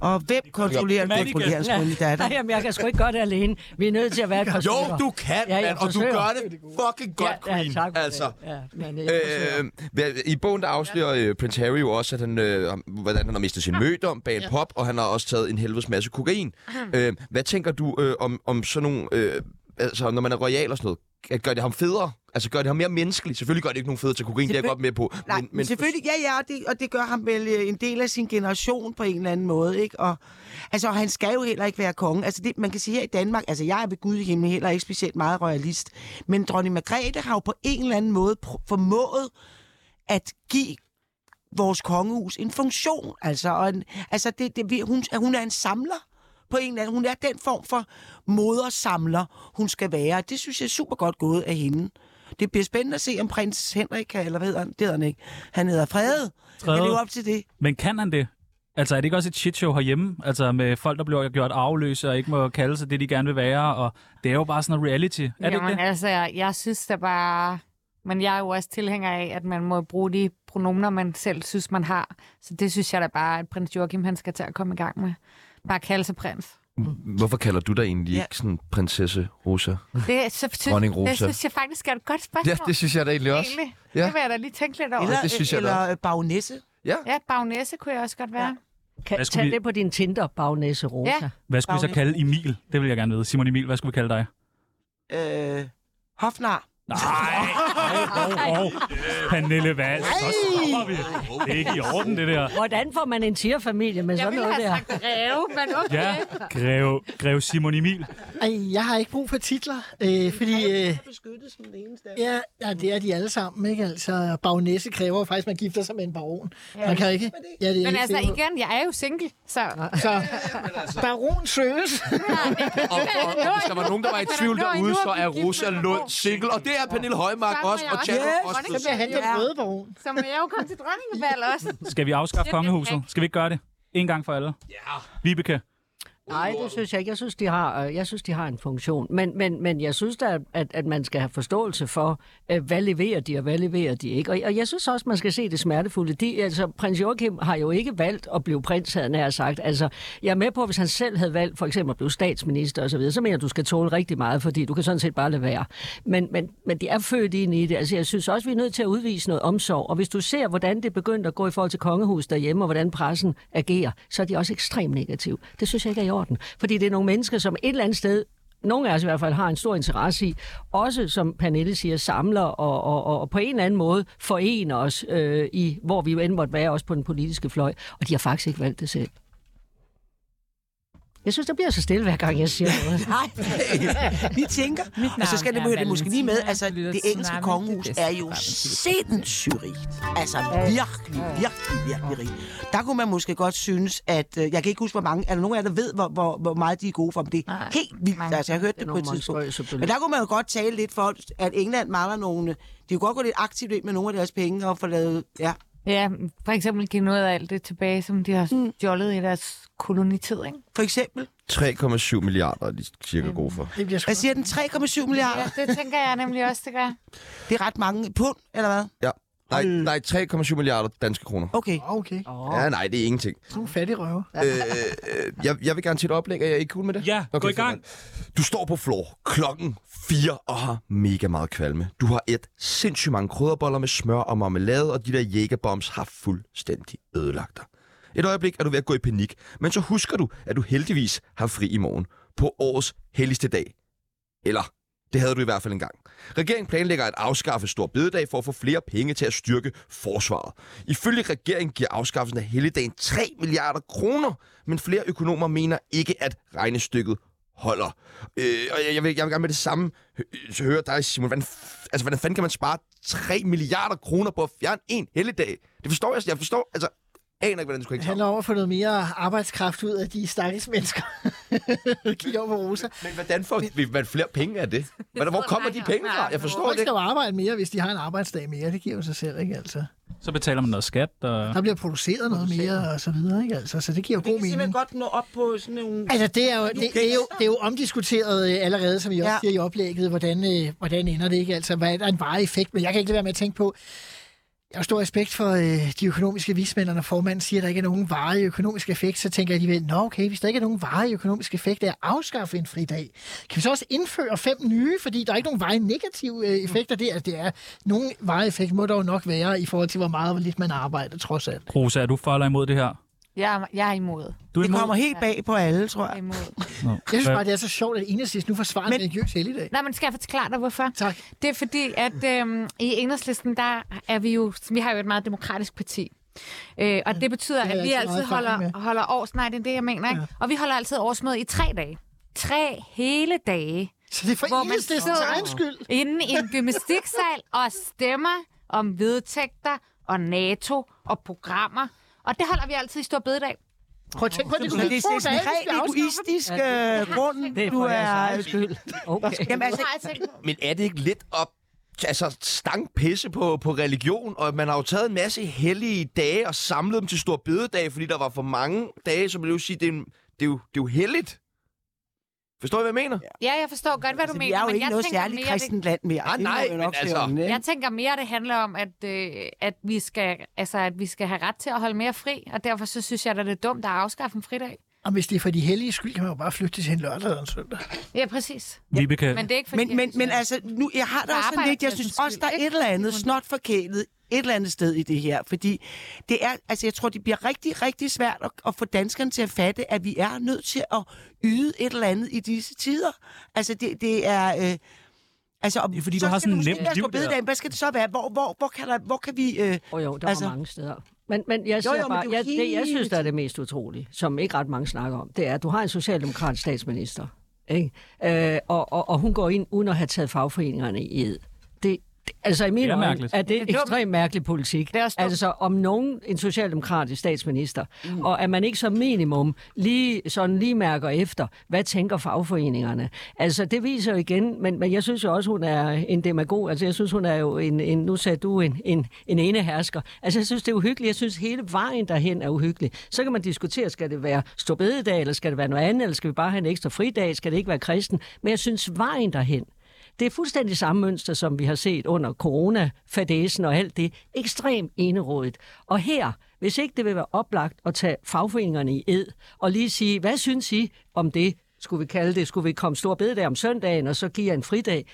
Speaker 2: Og hvem kontrollerer en
Speaker 4: Vatikan.
Speaker 2: kontrollerende skønne datter?
Speaker 8: Nej, jamen, jeg kan sgu ikke gøre det alene. Vi er nødt til at være et par
Speaker 3: Jo,
Speaker 8: stykker.
Speaker 3: du kan,
Speaker 8: Altså, Ja,
Speaker 3: ja,
Speaker 8: jeg
Speaker 3: mand, og du
Speaker 8: forsøger.
Speaker 3: gør det fucking godt,
Speaker 8: ja,
Speaker 3: Queen.
Speaker 8: ja, tak for
Speaker 3: altså,
Speaker 8: det. Ja, men, jeg forsøger.
Speaker 3: Øh, hvad- I bogen der afslører øh, Prince Harry jo også, at han, øh, har- hvordan han har mistet sin mødom bag en pop, og han har også taget en helvedes masse kokain. Øh, hvad tænker du øh, om, om sådan nogle... Øh, altså, når man er royal og sådan noget, at gør det ham federe? Altså, gør det ham mere menneskelig? Selvfølgelig gør det ikke nogen federe til kokain, det er jeg
Speaker 2: Selvføl-
Speaker 3: godt med på.
Speaker 2: Nej, men, men selvfølgelig, ja, ja, og det, og det gør ham vel øh, en del af sin generation på en eller anden måde, ikke? Og, altså, og han skal jo heller ikke være konge. Altså, det, man kan sige her i Danmark, altså, jeg er ved Gud i himlen heller ikke specielt meget royalist, men dronning Margrethe har jo på en eller anden måde pr- formået at give vores kongehus en funktion, altså, og en, altså det, det, vi- hun, hun er en samler på en eller anden, hun er den form for modersamler, hun skal være, det synes jeg er super godt gået af hende. Det bliver spændende at se, om prins Henrik, kan, eller hvad hedder han, det hedder han ikke, han hedder Frede,
Speaker 4: Frede.
Speaker 2: kan leve op til det.
Speaker 4: Men kan han det? Altså, er det ikke også et shitshow herhjemme? Altså, med folk, der bliver gjort arveløse og ikke må kalde sig det, de gerne vil være, og det er jo bare sådan noget reality. Er det ikke
Speaker 1: Jamen,
Speaker 4: det?
Speaker 1: altså, jeg, jeg synes da bare... Men jeg er jo også tilhænger af, at man må bruge de pronomener, man selv synes, man har. Så det synes jeg da bare, at prins Joachim, han skal til at komme i gang med. Bare kalde sig prins.
Speaker 3: Hvorfor kalder du dig egentlig
Speaker 2: Ja.
Speaker 3: ikke sådan prinsesse Rosa?
Speaker 1: Det, så, sy-
Speaker 3: Dronning
Speaker 1: det
Speaker 3: Rosa.
Speaker 1: synes jeg faktisk er et godt spørgsmål.
Speaker 3: Ja, det synes jeg da egentlig også.
Speaker 1: Egentlig.
Speaker 3: Ja.
Speaker 1: Det vil jeg da lige tænke lidt over.
Speaker 2: Eller,
Speaker 3: det synes jeg da.
Speaker 2: eller bagnæsse.
Speaker 1: Ja, bagnæse kunne jeg også godt være.
Speaker 8: Kan,
Speaker 4: Hvad skulle
Speaker 8: tag
Speaker 4: vi-
Speaker 8: det på din Tinder, bagnæse Rosa.
Speaker 1: Ja.
Speaker 4: Hvad skulle vi så
Speaker 2: Daglig.
Speaker 4: kalde Emil? Det vil jeg gerne vide. Simon Emil, hvad skulle vi kalde dig?
Speaker 2: Øh, hofnar.
Speaker 4: Nej! Og, og, og. Pernille Valls. Så stopper vi. Det er ikke i orden, det der.
Speaker 8: Hvordan får man en tierfamilie med sådan noget der?
Speaker 1: greve, men okay.
Speaker 4: Ja, greve, greve Simon Emil.
Speaker 6: Ej, jeg har ikke brug for titler, øh, fordi... Øh, ja, ja, det er de alle sammen, ikke? Altså, bagnæse kræver jo faktisk, at man gifter sig med en baron. Man kan jo ikke... Ja, det er
Speaker 1: Men
Speaker 6: helt
Speaker 1: altså
Speaker 6: sikkert.
Speaker 1: igen, jeg er jo single, så...
Speaker 6: Så
Speaker 2: altså-
Speaker 6: baron søges.
Speaker 3: Og, og hvis der var nogen, der var i tvivl
Speaker 1: Nå, nu er
Speaker 3: derude, så
Speaker 1: vi
Speaker 3: er
Speaker 1: gift,
Speaker 3: Rosa
Speaker 1: men-
Speaker 3: Lund single. Og det er Pernille Højmark
Speaker 1: Sammen
Speaker 3: også,
Speaker 1: er jeg
Speaker 3: og
Speaker 1: også.
Speaker 3: Chad
Speaker 1: Yes.
Speaker 3: også.
Speaker 6: Så bliver han den røde baron.
Speaker 1: Så må jeg jo komme til dronningevald også.
Speaker 4: Skal vi afskaffe kongehuset? Skal vi ikke gøre det? En gang for alle. Ja. Vibeke.
Speaker 8: Nej, det synes jeg ikke. Jeg synes, de har, øh, jeg synes, de har en funktion. Men, men, men jeg synes da, at, at man skal have forståelse for, øh, hvad leverer de, og hvad leverer de ikke. Og, og jeg synes også, man skal se det smertefulde. De, altså, prins Joachim har jo ikke valgt at blive prins, havde jeg nær sagt. Altså, jeg er med på, at hvis han selv havde valgt for eksempel at blive statsminister osv., så, videre, så mener jeg, at du skal tåle rigtig meget, fordi du kan sådan set bare lade være. Men, men, men de er født ind i det. Altså, jeg synes også, vi er nødt til at udvise noget omsorg. Og hvis du ser, hvordan det begyndte at gå i forhold til kongehus derhjemme, og hvordan pressen agerer, så er de også ekstremt negative. Det synes jeg ikke er i orden. Fordi det er nogle mennesker, som et eller andet sted nogle af os i hvert fald har en stor interesse i, også som Pernille siger, samler og, og, og, og på en eller anden måde forener os øh, i, hvor vi jo end måtte være, også på den politiske fløj. Og de har faktisk ikke valgt det selv. Jeg synes, der bliver så stille, hver gang jeg siger noget.
Speaker 2: Vi tænker, og så skal det
Speaker 10: er
Speaker 2: behøver det måske lige med,
Speaker 10: Valentina.
Speaker 2: altså
Speaker 10: Det lyder
Speaker 2: det
Speaker 10: til
Speaker 2: engelske
Speaker 10: tsunami.
Speaker 2: kongehus
Speaker 10: Det er
Speaker 2: er jo sindssygt rigt. Altså virkelig, virkelig, virkelig rigt. Der kunne man måske godt synes, at, øh, jeg kan ikke huske, hvor mange, er der nogen af jer, der ved, hvor, hvor, hvor meget de er gode for dem? Det er
Speaker 10: Nej.
Speaker 2: helt vildt, altså jeg hørte det,
Speaker 8: Det er
Speaker 2: på et
Speaker 8: nogle
Speaker 2: tidspunkt.
Speaker 8: monstrøse beløb.
Speaker 2: Men der kunne man jo godt tale lidt for, at England mangler nogle, de kunne godt gå lidt aktivt ind med nogle af deres penge og få lavet, ja.
Speaker 1: Ja, for eksempel give noget af alt det tilbage, som de
Speaker 6: Mm.
Speaker 1: har stjålet i deres kolonitid, ikke?
Speaker 2: For eksempel,
Speaker 3: 3,7 milliarder er de cirka gode for.
Speaker 6: Det bliver sgu
Speaker 2: hvad siger den, 3,7 milliarder?
Speaker 1: Ja, det tænker jeg nemlig også, det gør.
Speaker 2: Det er ret mange pund, eller hvad?
Speaker 3: Ja. Nej, nej 3,7 milliarder danske kroner.
Speaker 2: Okay.
Speaker 6: Åh, okay.
Speaker 3: Ja, nej, det er ingenting.
Speaker 6: Du er fattig røver.
Speaker 3: Øh, øh, jeg, jeg vil gerne til et oplæg. Er jeg ikke cool med det?
Speaker 4: Ja, gå i
Speaker 3: fair
Speaker 4: gang.
Speaker 3: nok. Du står på floor klokken 4 og har mega meget kvalme. Du har et sindssygt mange krydderboller med smør og marmelade, og de der jægerbombs har fuldstændig ødelagt dig. Et øjeblik er du ved at gå i panik, men så husker du, at du heldigvis har fri i morgen. På årets helligste dag. Eller det havde du i hvert fald engang. Regeringen planlægger at afskaffe Stor Bededag for at få flere penge til at styrke forsvaret. Ifølge regeringen giver afskaffelsen af helligdagen 3 milliarder kroner, men flere økonomer mener ikke, at regnestykket holder. Øh, og jeg, jeg, vil, jeg vil gerne med det samme hø- øh, høre dig, Simon. Hvordan, f- altså, hvordan fanden kan man spare 3 milliarder kroner på at fjerne en helligdag? Det forstår jeg. Jeg forstår, altså, aner ikke, hvordan det skulle
Speaker 6: Det
Speaker 3: ikke
Speaker 6: handler om at få noget mere arbejdskraft ud af de stakkels mennesker. Kig over på Rosa.
Speaker 3: Men hvordan får vi man flere penge af det? Hvordan, hvor kommer de penge fra? Jeg forstår
Speaker 6: Folk
Speaker 3: det
Speaker 6: skal
Speaker 3: ikke.
Speaker 6: jo arbejde mere, hvis de har en arbejdsdag mere. Det giver jo sig selv, ikke altså?
Speaker 4: Så betaler man noget skat. Og...
Speaker 6: Der bliver produceret noget mere og så videre, ikke altså? Så det giver jo
Speaker 2: Det
Speaker 6: god
Speaker 2: kan simpelthen
Speaker 6: mening.
Speaker 2: godt nå op på sådan nogle...
Speaker 6: Altså, det er, jo, det, det, er jo, det er jo omdiskuteret øh, allerede, som I også
Speaker 2: Ja.
Speaker 6: ja. siger i oplægget, hvordan, øh, hvordan ender det ikke? Altså, hvad er der en varig effekt? Men jeg kan ikke lade være med at tænke på, jeg har stor respekt for øh, de økonomiske vismænd, og når formanden siger, at der ikke er nogen varig økonomisk effekt, så tænker jeg alligevel, nå okay, hvis der ikke er nogen varig økonomisk effekt af at afskaffe en fridag, kan vi så også indføre fem nye, fordi der er ikke nogen varig negative øh, effekter der. Det er, nogen varig effekt må der jo nok være i forhold til, hvor meget og hvor lidt man arbejder, trods alt.
Speaker 4: Rosa, er du for eller imod det her?
Speaker 1: Jeg er, jeg er imod.
Speaker 4: Du er
Speaker 2: Det
Speaker 4: imod?
Speaker 2: kommer helt bag på alle, tror
Speaker 1: Jeg er
Speaker 2: jeg.
Speaker 1: imod.
Speaker 6: Jeg synes
Speaker 4: Hvad-
Speaker 6: bare, det er så sjovt, at Enhedslisten nu forsvarer
Speaker 2: Men-
Speaker 6: en religiøs helligdag.
Speaker 1: Nej, men skal jeg forklare dig, hvorfor?
Speaker 6: Tak.
Speaker 1: Det er fordi, at øhm, i Enhedslisten, der er vi jo, vi har jo et meget demokratisk parti. Øh, og det betyder,
Speaker 6: har
Speaker 1: at
Speaker 6: jeg
Speaker 1: vi
Speaker 6: ikke så
Speaker 1: altid
Speaker 6: meget erfaring
Speaker 1: holder, holder års... Nej, det er det, jeg mener, ikke? Og vi holder altid årsmøde i tre dage. Tre hele dage.
Speaker 6: Så det er for
Speaker 1: Hvor man
Speaker 6: Enhedslistens
Speaker 1: sidder-
Speaker 6: egen skyld.
Speaker 1: Inde i en gymnastiksal og stemmer om vedtægter og NATO og programmer. Og det holder vi altid i stor bededag.
Speaker 6: Prøv at tænke på, at det kunne
Speaker 2: Men det
Speaker 6: blive
Speaker 2: er
Speaker 6: to
Speaker 2: sådan en
Speaker 6: dage,
Speaker 2: rent
Speaker 6: hvis vi afskaffer den.
Speaker 2: egoistisk øh, grund,
Speaker 8: Det er
Speaker 2: du
Speaker 8: for jeres
Speaker 2: er...
Speaker 8: egen skyld. Okay.
Speaker 2: Jamen altså,
Speaker 1: Har jeg tænkt på?
Speaker 3: Men er det ikke lidt op altså stankpisse på, på religion, og man har jo taget en masse hellige dage og samlet dem til stor bededag, fordi der var for mange dage, så vil jeg jo sige, det er, en, det er, jo, det er jo helligt. Forstår I, hvad jeg mener? Ja.
Speaker 1: Ja, jeg forstår godt, hvad du
Speaker 2: altså, vi
Speaker 1: mener.
Speaker 2: er jo
Speaker 1: men
Speaker 2: ikke
Speaker 1: jeg
Speaker 2: noget
Speaker 1: tænker
Speaker 2: særligt
Speaker 1: mere, det-
Speaker 2: kristent land mere.
Speaker 3: Ah,
Speaker 2: Det må
Speaker 3: nej,
Speaker 2: jeg nok
Speaker 3: men
Speaker 2: sige
Speaker 3: altså-
Speaker 2: om, ikke?
Speaker 1: Jeg tænker mere, det handler om, at, øh, at, vi skal, altså, at vi skal have ret til at holde mere fri, og derfor så synes jeg, at det er dumt at afskaffe en fridag.
Speaker 6: Og hvis det er for de hellige skyld, kan man jo bare flytte det til en lørdag eller en søndag.
Speaker 1: Ja, præcis.
Speaker 4: Vibeke,
Speaker 1: Men det er ikke fordi,
Speaker 2: Men, men,
Speaker 1: jeg-
Speaker 2: men altså, nu, jeg har det også sådan lidt, jeg synes også, der er et eller andet snot forkælet et eller andet sted i det her, fordi det er, altså jeg tror, det bliver rigtig, rigtig svært at, at få danskerne til at fatte, at vi er nødt til at yde et eller andet i disse tider. Altså det, det er... Øh, altså, og
Speaker 4: Det er, fordi du
Speaker 2: så
Speaker 4: har
Speaker 2: skal
Speaker 4: sådan
Speaker 2: det måske
Speaker 4: nemt
Speaker 2: være
Speaker 4: liv
Speaker 2: store bededag,
Speaker 4: der.
Speaker 2: men Hvad skal det så være? Hvor, hvor, hvor, kan, der, hvor kan vi... Øh,
Speaker 8: Og jo,
Speaker 2: Altså-
Speaker 8: der altså, var mange steder. Men, men jeg, siger
Speaker 2: jo, men
Speaker 8: bare,
Speaker 2: det er jo
Speaker 8: jeg, det, jeg
Speaker 2: hele
Speaker 8: synes, der er det mest utrolige, som ikke ret mange snakker om, det er, at du har en socialdemokrat statsminister, ikke? Øh, og, og, og hun går ind uden at have taget fagforeningerne i ed. Det, det, altså i
Speaker 4: Det
Speaker 8: mine
Speaker 4: er
Speaker 8: øjne
Speaker 4: mærkeligt.
Speaker 8: er det,
Speaker 1: dumt.
Speaker 8: ekstremt mærkelig politik.
Speaker 1: Det er også dumt.
Speaker 8: altså om nogen en socialdemokratisk statsminister, mm. og at man ikke som minimum lige, sådan lige mærker efter, hvad tænker fagforeningerne. Altså det viser jo igen, men, men jeg synes jo også, hun er en demagog. Altså jeg synes, hun er jo en, en nu sagde du, en, en, en ene hersker. Altså jeg synes, det er uhyggeligt. Jeg synes, hele vejen derhen er uhyggelig. Så kan man diskutere, skal det være storbededag, eller skal det være noget andet, eller skal vi bare have en ekstra fridag, skal det ikke være kristen. Men jeg synes, vejen derhen, det er fuldstændig samme mønster, som vi har set under coronafadesen og alt det. Ekstremt enerådigt. Og her, hvis ikke det vil være oplagt at tage fagforeningerne i ed og lige sige, hvad synes I om det? Skulle vi kalde det? Skulle vi komme stor bededag om søndagen og så give jer en fridag?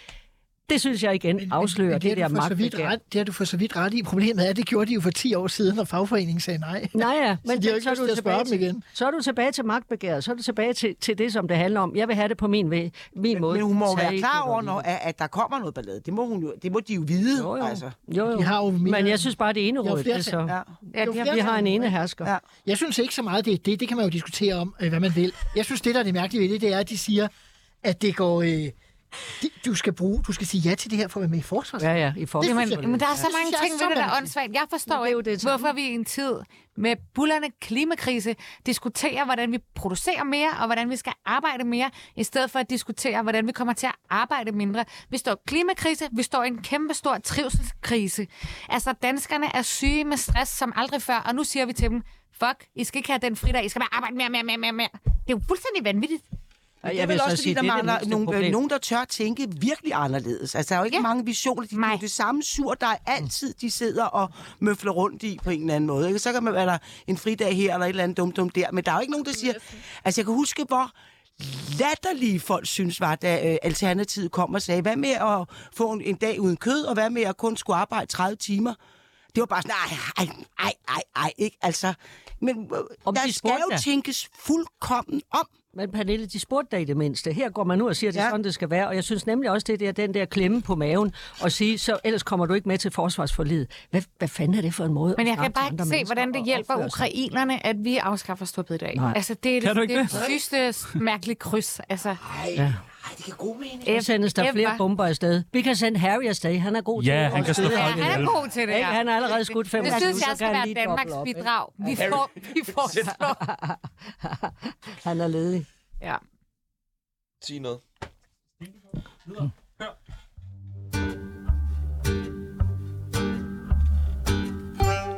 Speaker 8: Det synes jeg igen afslører
Speaker 6: men
Speaker 8: det, det der
Speaker 6: har du for så vidt
Speaker 8: magtbegær.
Speaker 6: ret, Det har du for så vidt ret i. Problemet er, at det gjorde de jo for 10 år siden, og fagforeningen sagde nej.
Speaker 8: Nej, ja, men
Speaker 6: de har jo ikke
Speaker 8: så er
Speaker 6: lyst
Speaker 8: du
Speaker 6: til at
Speaker 8: tilbage
Speaker 6: spørge dem igen.
Speaker 8: Så er du tilbage til magtbegæret, så er du tilbage til, til det, som det handler om. Jeg vil have det på min, ved, min måde.
Speaker 2: men hun må jo
Speaker 8: Tag
Speaker 2: være
Speaker 8: ikke
Speaker 2: klar
Speaker 8: det,
Speaker 2: over,
Speaker 8: hvor
Speaker 2: når, at, at der kommer noget ballade. Det må, hun jo, det må de jo vide.
Speaker 8: Jo, jo.
Speaker 2: Altså.
Speaker 8: Jo, jo.
Speaker 6: De har jo mere-
Speaker 8: Men jeg synes bare, det er enerådigt.
Speaker 6: flertal,
Speaker 8: altså.
Speaker 2: Ja.
Speaker 1: Ja, det
Speaker 6: Jo flere
Speaker 1: har,
Speaker 8: Vi har en ene hersker.
Speaker 2: Ja.
Speaker 6: Jeg synes ikke så meget, det er det. Det kan man jo diskutere om, øh, hvad man vil. Jeg synes, det, der er det mærkelige ved det, det er, at de siger, at det går... Øh, det, du skal bruge, du skal sige ja til det her for at være med i forsvaret.
Speaker 8: Ja, ja, i forhold
Speaker 6: Det
Speaker 8: til...
Speaker 6: synes
Speaker 1: men, men der er så
Speaker 6: Det
Speaker 1: mange
Speaker 6: synes jeg
Speaker 1: ting
Speaker 6: er
Speaker 1: ved
Speaker 6: så
Speaker 1: det, der er
Speaker 6: mærkeligt.
Speaker 1: åndssvagt. Jeg forstår
Speaker 8: det er jo
Speaker 1: ikke,
Speaker 8: det samme.
Speaker 1: hvorfor vi i en tid med bullerne klimakrise diskuterer, hvordan vi producerer mere, og hvordan vi skal arbejde mere, i stedet for at diskutere, hvordan vi kommer til at arbejde mindre. Vi står i klimakrise, vi står i en kæmpe stor trivselskrise. Altså, danskerne er syge med stress som aldrig før, og nu siger vi til dem, fuck, I skal ikke have den fridag, I skal bare arbejde mere, mere, mere, mere, mere. Det er jo fuldstændig vanvittigt.
Speaker 8: Ja,
Speaker 2: Det er vel
Speaker 8: vil så
Speaker 2: også, fordi
Speaker 8: sige,
Speaker 2: der
Speaker 8: det er det
Speaker 2: mangler
Speaker 8: mindste
Speaker 2: nogen, øh,
Speaker 8: problem.
Speaker 2: nogen, der tør tænke virkelig anderledes. Altså, der er jo ikke
Speaker 1: Ja.
Speaker 2: mange visioner. De, det er jo
Speaker 1: Nej.
Speaker 2: det samme sur, der er altid, de sidder og møfler rundt i på en eller anden måde. Ikke? Så kan man være der en fridag her, eller et eller andet dumt dum der. Men der er jo ikke nogen, der siger... Altså, jeg kan huske, hvor latterlige folk synes var, da øh, Alternativet kom og sagde, hvad med at få en, en dag uden kød, og hvad med at kun skulle arbejde 30 timer? Det var bare sådan, ej, ej, ej, ej, ej, ikke? Altså, men øh,
Speaker 8: Om
Speaker 2: der
Speaker 8: de
Speaker 2: skal jo
Speaker 8: spurgte.
Speaker 2: tænkes fuldkommen om.
Speaker 8: Men Pernille, de spurgte dig i det mindste. Her går man ud og siger, at det er
Speaker 2: Ja.
Speaker 8: sådan, det skal være. Og jeg synes nemlig også, det der, den der klemme på maven og sige, så ellers kommer du ikke med til forsvarsforlidet. Hvad, hvad fanden er det for en måde
Speaker 1: Men
Speaker 8: at
Speaker 1: jeg kan
Speaker 8: snakke
Speaker 1: bare
Speaker 8: til andre
Speaker 1: ikke se,
Speaker 8: mennesker
Speaker 1: hvordan det
Speaker 8: og
Speaker 1: hjælper
Speaker 8: opføre sig?
Speaker 1: ukrainerne, at vi afskaffer Storbededag.
Speaker 8: Nej.
Speaker 1: Altså, det er
Speaker 4: Kan
Speaker 1: det,
Speaker 4: du ikke
Speaker 1: det,
Speaker 4: det?
Speaker 1: det sidste mærkelige kryds. Altså,
Speaker 2: Ej, det kan god mening.
Speaker 8: Så sendes der
Speaker 1: F-
Speaker 8: flere
Speaker 1: F-
Speaker 8: bomber afsted. Vi kan sende Harry afsted. Han er god til
Speaker 4: Ja,
Speaker 8: at
Speaker 4: han kan slå
Speaker 8: skyde.
Speaker 1: Ja,
Speaker 4: folk
Speaker 1: han
Speaker 4: ihjel.
Speaker 1: er god til det,
Speaker 8: Ikke?
Speaker 1: ja.
Speaker 8: Han har allerede skudt fem
Speaker 1: Det synes jeg skal være Danmarks bidrag. Vi får, vi får slå.
Speaker 8: Han er ledig.
Speaker 1: Ja.
Speaker 3: Sig noget.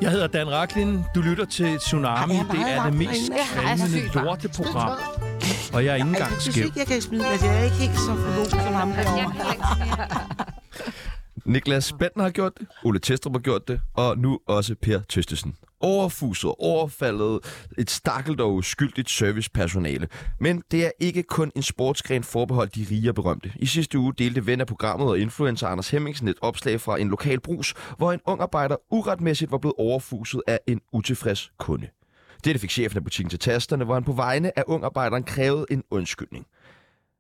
Speaker 9: Jeg hedder Dan Raklin. Du lytter til Tsunami.
Speaker 2: Ej, jeg er
Speaker 9: Det
Speaker 2: meget
Speaker 9: er det
Speaker 2: langt
Speaker 9: mest
Speaker 2: derinde. Jeg
Speaker 1: er altså
Speaker 9: kvalmende
Speaker 1: sygt langt.
Speaker 9: lorteprogram. Og jeg er ikke
Speaker 2: Jeg
Speaker 9: engang
Speaker 2: synes
Speaker 9: skæv.
Speaker 2: ikke, jeg kan smide. Altså, jeg er ikke helt så god som ham
Speaker 1: Jeg
Speaker 2: derovre.
Speaker 1: kan ikke mere.
Speaker 3: Niklas Bentner har gjort det, Ole Testrup har gjort det, og nu også Per Tøstesen. Overfuset, overfaldet, et stakkelt og uskyldigt servicepersonale. Men det er ikke kun en sportsgren forbeholdt de rige og berømte. I sidste uge delte ven af programmet og influencer Anders Hemmingsen et opslag fra en lokal brus, hvor en ung arbejder uretmæssigt var blevet overfuset af en utilfreds kunde. Dette fik chefen af butikken til tasterne, hvor han på vegne af ungarbejderen krævede en undskyldning.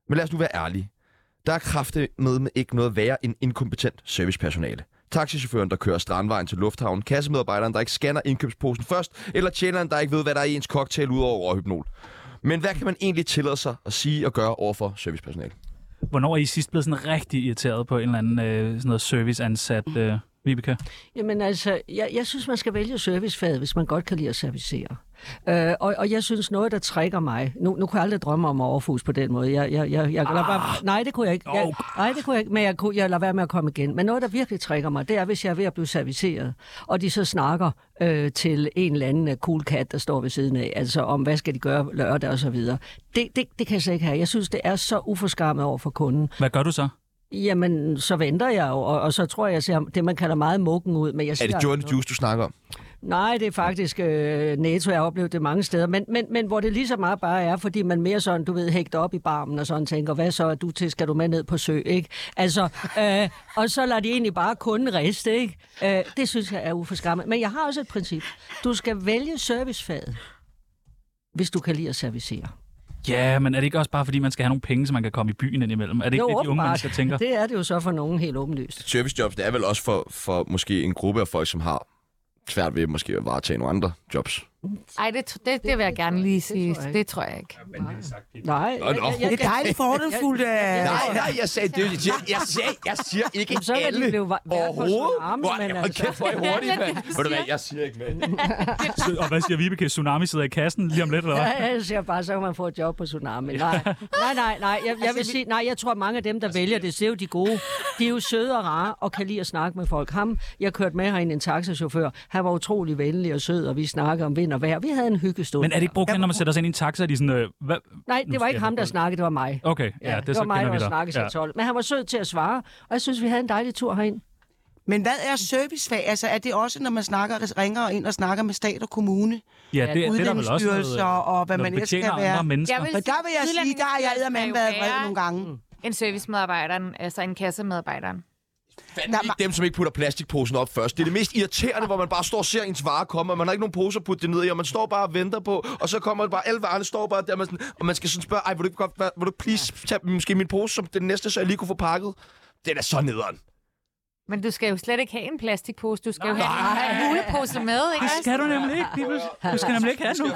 Speaker 3: Men lad os nu være ærlige. Der er kraftet med ikke noget værre end inkompetent servicepersonale. Taxichaufføren, der kører strandvejen til lufthavnen, kassemedarbejderen, der ikke scanner indkøbsposen først, eller tjeneren, der ikke ved, hvad der er i ens cocktail udover overhypnol. Men hvad kan man egentlig tillade sig at sige og gøre overfor servicepersonale?
Speaker 4: hvornår er I sidst blevet sådan rigtig irriteret på en eller anden øh, sådan noget serviceansat, øh, Vibeke?
Speaker 8: Jamen altså, jeg, jeg synes, man skal vælge servicefaget, hvis man godt kan lide at servicere. Øh, og, og jeg synes, noget, der trækker mig... Nu, nu kunne jeg aldrig drømme om at overfus på den måde. Jeg, jeg, jeg, jeg, ah, bare, nej, det kunne jeg ikke. Jeg, nej, det kunne jeg ikke, men jeg, kunne, jeg lader være med at komme igen. Men noget, der virkelig trækker mig, det er, hvis jeg er ved at blive serviceret, og de så snakker øh, til en eller anden øh, cool kat, der står ved siden af, altså om, hvad skal de gøre lørdag og så videre. Det, det, det kan jeg slet ikke have. Jeg synes, det er så uforskammet over for kunden.
Speaker 4: Hvad gør du så?
Speaker 8: Jamen, så venter jeg jo, og, og så tror jeg, jeg ser det, man kalder meget mukken ud. Men jeg
Speaker 3: Er
Speaker 8: siger
Speaker 3: det
Speaker 8: aldrig
Speaker 3: Joanne
Speaker 8: noget.
Speaker 3: Juice, du snakker om?
Speaker 8: Nej, det er faktisk øh, Netto, jeg har oplevet det mange steder, men, men, men hvor det lige så meget bare er, fordi man mere sådan, du ved, hægter op i barmen og sådan tænker, hvad så er du til, skal du med ned på sø, ikke? Altså, øh, og så lader de egentlig bare kunden riste, ikke? Øh, det synes jeg er uforskammet. Men jeg har også et princip. Du skal vælge servicefaget, hvis du kan lide at servicere.
Speaker 4: Ja, men er det ikke også bare, fordi man skal have nogle penge, så man kan komme i byen indimellem? Er det ikke det, de unge
Speaker 8: åbenbart.
Speaker 4: mennesker tænker?
Speaker 8: Det er det jo så for nogen helt åbenlyst.
Speaker 3: Servicejobs, det er vel også for, for måske en gruppe af folk, som har svært ved måske at varetage nogle andre jobs.
Speaker 1: Ej, det, tr- det, det vil jeg gerne lige sige.
Speaker 8: tror jeg ikke.
Speaker 1: Det tror jeg ikke.
Speaker 8: Nej,
Speaker 3: Nå, nå.
Speaker 2: Det er dejligt fordelfuldt. øh.
Speaker 3: Nej, nej, jeg sagde det. Jeg siger, jeg siger, jeg siger ikke
Speaker 8: Jamen, så kan de
Speaker 3: alle
Speaker 8: blive va- værd på
Speaker 3: overhovedet.
Speaker 8: sådan en arme,
Speaker 3: Hvor,
Speaker 8: men
Speaker 3: hold
Speaker 8: altså.
Speaker 3: kæft, hvor er jeg hurtigt, mand. Ved du hvad, jeg siger ikke, hvad.
Speaker 4: Så- Og hvad siger Vibeke? Tsunami sidder i kassen lige om lidt, eller hvad?
Speaker 8: Ja, jeg siger bare, så kan man få et job på Tsunami. Nej, nej, nej. nej. Jeg,
Speaker 4: Altså,
Speaker 8: jeg vil sige, nej, jeg tror, mange af dem, der vælger det, det er jo de gode. De er jo søde og rare og kan lide at snakke med folk. Ham, jeg kørte med herinde, en taxachauffør. Han var utrolig venlig og sød, og vi snakkede om vind og vejr. Vi havde en hyggestund.
Speaker 4: Men er det ikke brugt, når man sætter sig ind i en taxa, og de er sådan... Øh, hvad?
Speaker 8: Nej, det var ikke ham, der snakkede, det var mig.
Speaker 4: Okay, ja, det,
Speaker 8: det
Speaker 4: så
Speaker 8: var mig,
Speaker 4: kender vi
Speaker 8: der
Speaker 4: dig.
Speaker 8: snakkede sig
Speaker 4: Ja.
Speaker 8: 12. Men han var sød til at svare, og jeg synes, vi havde en dejlig tur herind.
Speaker 2: Men hvad er servicefag? Altså, er det også, når man snakker, ringer ind og snakker med stat og kommune?
Speaker 4: Ja, det, det er der vel også øh,
Speaker 2: Udlændingsstyrelser og hvad
Speaker 4: når
Speaker 2: man
Speaker 4: du
Speaker 2: ellers kan
Speaker 4: betjener
Speaker 2: være.
Speaker 4: andre mennesker.
Speaker 2: Men der vil jeg sige, der har jeg
Speaker 1: Udlændinge-
Speaker 2: eddermame været
Speaker 1: er jo
Speaker 2: vred
Speaker 1: værre
Speaker 2: nogle gange.
Speaker 1: end servicemedarbejderen, altså en kassemedarbejderen.
Speaker 2: Der
Speaker 3: Fanden
Speaker 2: var-
Speaker 3: ikke dem, som ikke putter plastikposen op først. Det er det mest irriterende, hvor man bare står og ser ens vare komme, og man har ikke nogen poser at putte det ned i, og man står bare og venter på, og så kommer det bare, alle varerne står bare der, og man, sådan, og man skal sådan spørge, ej, vil du, ikke godt, hvad- vil du please tage måske min pose som den næste, så jeg lige kunne få pakket? Det er så nederen.
Speaker 1: Men du skal jo slet ikke have en plastikpose. Du skal jo have en julepose med, ikke?
Speaker 4: Det
Speaker 1: også?
Speaker 4: skal du nemlig ikke. lige pludselig. Du skal nemlig ikke have nu.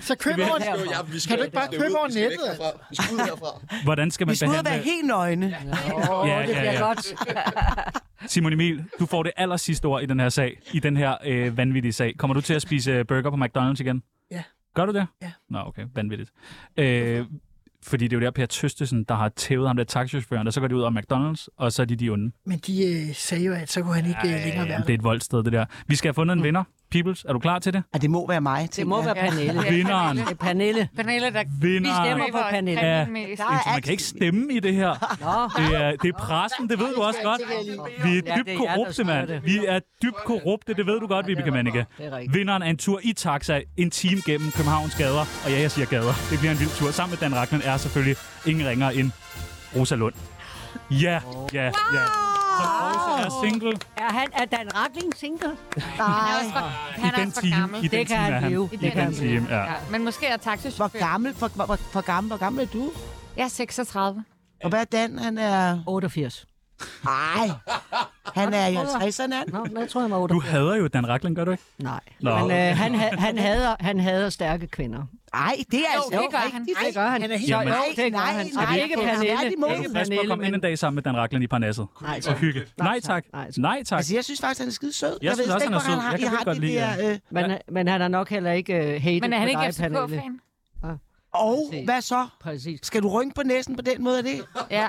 Speaker 6: Så køb over
Speaker 3: vi
Speaker 6: Kan du ikke bare købe over nettet? altså?
Speaker 3: Vi skal ud herfra.
Speaker 4: Hvordan skal
Speaker 2: Vi
Speaker 4: man
Speaker 2: skal ud og være
Speaker 4: behandle...
Speaker 2: helt nøgne.
Speaker 8: Åh,
Speaker 4: Ja,
Speaker 8: det
Speaker 4: ja,
Speaker 8: bliver
Speaker 4: ja.
Speaker 8: godt.
Speaker 4: Simon Emil, du får det aller sidste ord i den her sag. I den her øh, vanvittige sag. Kommer du til at spise øh, burger på McDonald's igen?
Speaker 6: Ja.
Speaker 4: Gør du det?
Speaker 6: Ja.
Speaker 4: Nå, okay. Vanvittigt. Øh, fordi det er jo der Per Tøstesen, der har tævet ham der taxichaufføren, og så går de ud af McDonald's, og så er de de onde.
Speaker 6: Men de øh, sagde jo, at så kunne han ikke øh, længere være
Speaker 4: det er et voldsted, det der. Vi skal have fundet
Speaker 6: Mm.
Speaker 4: en vinder. Peoples, er du klar til det?
Speaker 2: Og det må være mig,
Speaker 8: Det
Speaker 2: tænker
Speaker 8: må
Speaker 2: jeg.
Speaker 8: være Pernille.
Speaker 4: Vinderen.
Speaker 8: Det er Pernille.
Speaker 1: Pernille, der
Speaker 4: Vinderen.
Speaker 8: stemmer på Pernille.
Speaker 4: Ja.
Speaker 1: mest.
Speaker 4: Man kan ikke stemme i det her. Det er, det er pressen, det ved du også godt. Vi er dybt korrupte, mand. Vi er dybt korrupte, det ved du godt, Vibeke Mannicke.
Speaker 8: Det er rigtigt.
Speaker 4: Vinderen af en tur i taxa en time gennem Københavns gader. Og ja, jeg siger gader. Det bliver en vild tur. Sammen med Dan Racklin er selvfølgelig ingen ringer end Rosa Lund. Ja, ja, ja. Så Rosa er single
Speaker 8: Er, han, er Dan Rackling single?
Speaker 1: Han er også for,
Speaker 4: i
Speaker 1: han er
Speaker 4: den
Speaker 1: også for
Speaker 4: time.
Speaker 1: gammel.
Speaker 4: I den
Speaker 8: Det kan
Speaker 4: time er
Speaker 8: han
Speaker 4: han.
Speaker 8: leve.
Speaker 4: I den time, ja.
Speaker 1: Men måske er
Speaker 2: Hvor
Speaker 1: taxichauffør.
Speaker 2: gammel, hvor, hvor, hvor, hvor, gammel, hvor gammel er du?
Speaker 1: Jeg er 36.
Speaker 2: Og hvad er Dan? Han er...
Speaker 8: 88.
Speaker 2: Ej, han er i 50'erne. han.
Speaker 8: Nå, men jeg tror, han var 88.
Speaker 4: Du hader jo Dan Racklin, gør du ikke?
Speaker 8: Nej,
Speaker 4: Nå.
Speaker 8: Nå. men øh, han, ha- han, hader, han hader stærke kvinder.
Speaker 2: Ej, det er altså...
Speaker 1: det gør han.
Speaker 2: rigtigt.
Speaker 8: Det gør han.
Speaker 6: Han er helt-
Speaker 8: Så,
Speaker 4: Jamen.
Speaker 8: jo, det gør
Speaker 2: Nej,
Speaker 8: han.
Speaker 2: nej,
Speaker 8: ikke
Speaker 2: det er han.
Speaker 8: Pernille.
Speaker 2: Ret imod.
Speaker 8: Ikke
Speaker 4: Altså, Pas på at
Speaker 8: Pernille,
Speaker 4: komme
Speaker 8: men...
Speaker 4: ind en dag sammen med Dan Racklin i Parnasset.
Speaker 2: Nej,
Speaker 4: Og hygge. Nej tak.
Speaker 8: Nej tak.
Speaker 4: Nej tak.
Speaker 2: Altså, jeg synes faktisk, han er skide sød.
Speaker 4: Jeg synes
Speaker 2: ved
Speaker 4: også,
Speaker 2: slet
Speaker 4: han er
Speaker 2: ikke, hvor
Speaker 4: sød. Jeg kan
Speaker 2: I har
Speaker 4: virkelig
Speaker 2: det
Speaker 4: godt
Speaker 2: der, øh,
Speaker 8: Men, men han er nok heller ikke uh, hated
Speaker 1: Men er han
Speaker 8: på
Speaker 1: ikke
Speaker 8: dig, Pernille.
Speaker 1: FCK-fan?
Speaker 2: Og hvad så?
Speaker 8: Præcis.
Speaker 2: Skal du rynke på næsen på den måde, er det?
Speaker 1: Ja.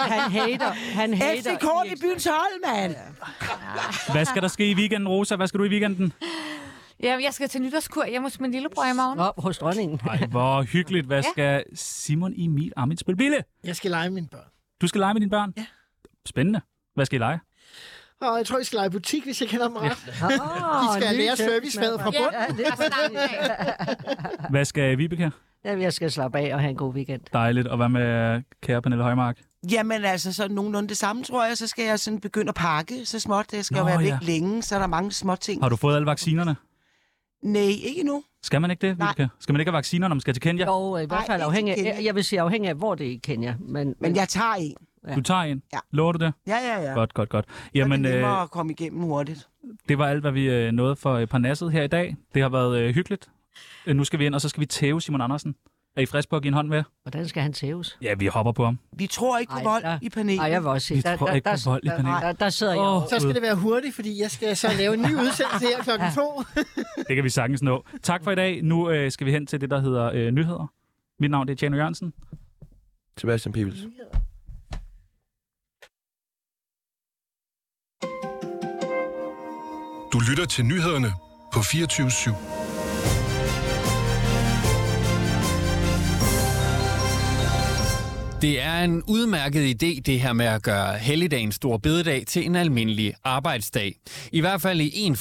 Speaker 8: Han hater. Han hater.
Speaker 2: FCK det er byens hold, mand!
Speaker 4: Hvad skal der ske i weekenden, Rosa? Hvad skal du i weekenden?
Speaker 1: ja. jeg skal til nytårskur hjemme hos min lillebror i morgen.
Speaker 8: Nå, hos dronningen.
Speaker 4: Ej, hvor hyggeligt. Hvad skal Simon Emil Amit spille? Bille,
Speaker 6: Jeg skal lege med mine børn.
Speaker 4: du skal lege med dine børn?
Speaker 6: Ja.
Speaker 4: Spændende. Hvad skal I lege?
Speaker 6: Og jeg tror, jeg skal lege butik, hvis jeg kender dem ret.
Speaker 8: Oh,
Speaker 6: De skal lære servicefaget fra bunden.
Speaker 1: Ja, det er
Speaker 4: Hvad skal Vibeke?
Speaker 8: Ja, jeg skal slappe af og have en god weekend.
Speaker 4: Dejligt. Og hvad med kære Pernille Højmark?
Speaker 2: Jamen altså, så nogenlunde det samme, tror jeg. Så skal jeg sådan begynde at pakke så småt. Jeg skal Nå,
Speaker 4: Nå,
Speaker 2: være væk
Speaker 4: ja.
Speaker 2: ja. længe, så er der mange små ting.
Speaker 4: Har du fået alle vaccinerne?
Speaker 2: Nej, ikke endnu.
Speaker 4: Skal man ikke det,
Speaker 2: Nej.
Speaker 4: Vibeke? Skal man ikke have vacciner, når man skal til Kenya?
Speaker 8: Og øh, i hvert
Speaker 2: Ej,
Speaker 8: fald
Speaker 2: ikke
Speaker 8: afhængig
Speaker 2: Kenya.
Speaker 8: af, jeg vil sige afhængig af, hvor det er i Kenya. Men,
Speaker 2: Men jeg tager en.
Speaker 4: Du tager en.
Speaker 2: Ja.
Speaker 4: Lover du det?
Speaker 2: Ja, ja, ja.
Speaker 4: Godt, godt, godt.
Speaker 2: Jamen,
Speaker 4: Jamen,
Speaker 2: det er
Speaker 4: øh,
Speaker 2: nemmere at komme igennem hurtigt.
Speaker 4: det var alt, hvad vi øh, nåede for øh, Parnasset her i dag. Det har været øh, hyggeligt. Øh, nu skal vi ind, og så skal vi tæve Simon Andersen. Er I friske på at give en hånd med?
Speaker 8: hvordan skal han tæves?
Speaker 4: Ja, vi hopper på ham.
Speaker 2: Vi tror ikke på vold
Speaker 8: der-
Speaker 2: i panelet.
Speaker 8: Ej, jeg vil også sige,
Speaker 4: Vi tror ikke på vold i
Speaker 8: der,
Speaker 4: Pernille.
Speaker 8: der, der sidder jeg
Speaker 4: Åh,
Speaker 8: over.
Speaker 6: Så skal det være hurtigt, fordi jeg skal så lave en ny udsendelse her klokken to.
Speaker 4: Det kan vi sagtens nå. Tak for i dag. Nu øh, skal vi hen til det, der hedder øh, nyheder. Mit navn det er Tjano Jørgensen.
Speaker 3: Sebastian Pibels.
Speaker 10: Du lytter til nyhederne på 24 /7.
Speaker 11: Det er en udmærket idé, det her med at gøre helligdagen stor bededag til en almindelig arbejdsdag. I hvert fald i en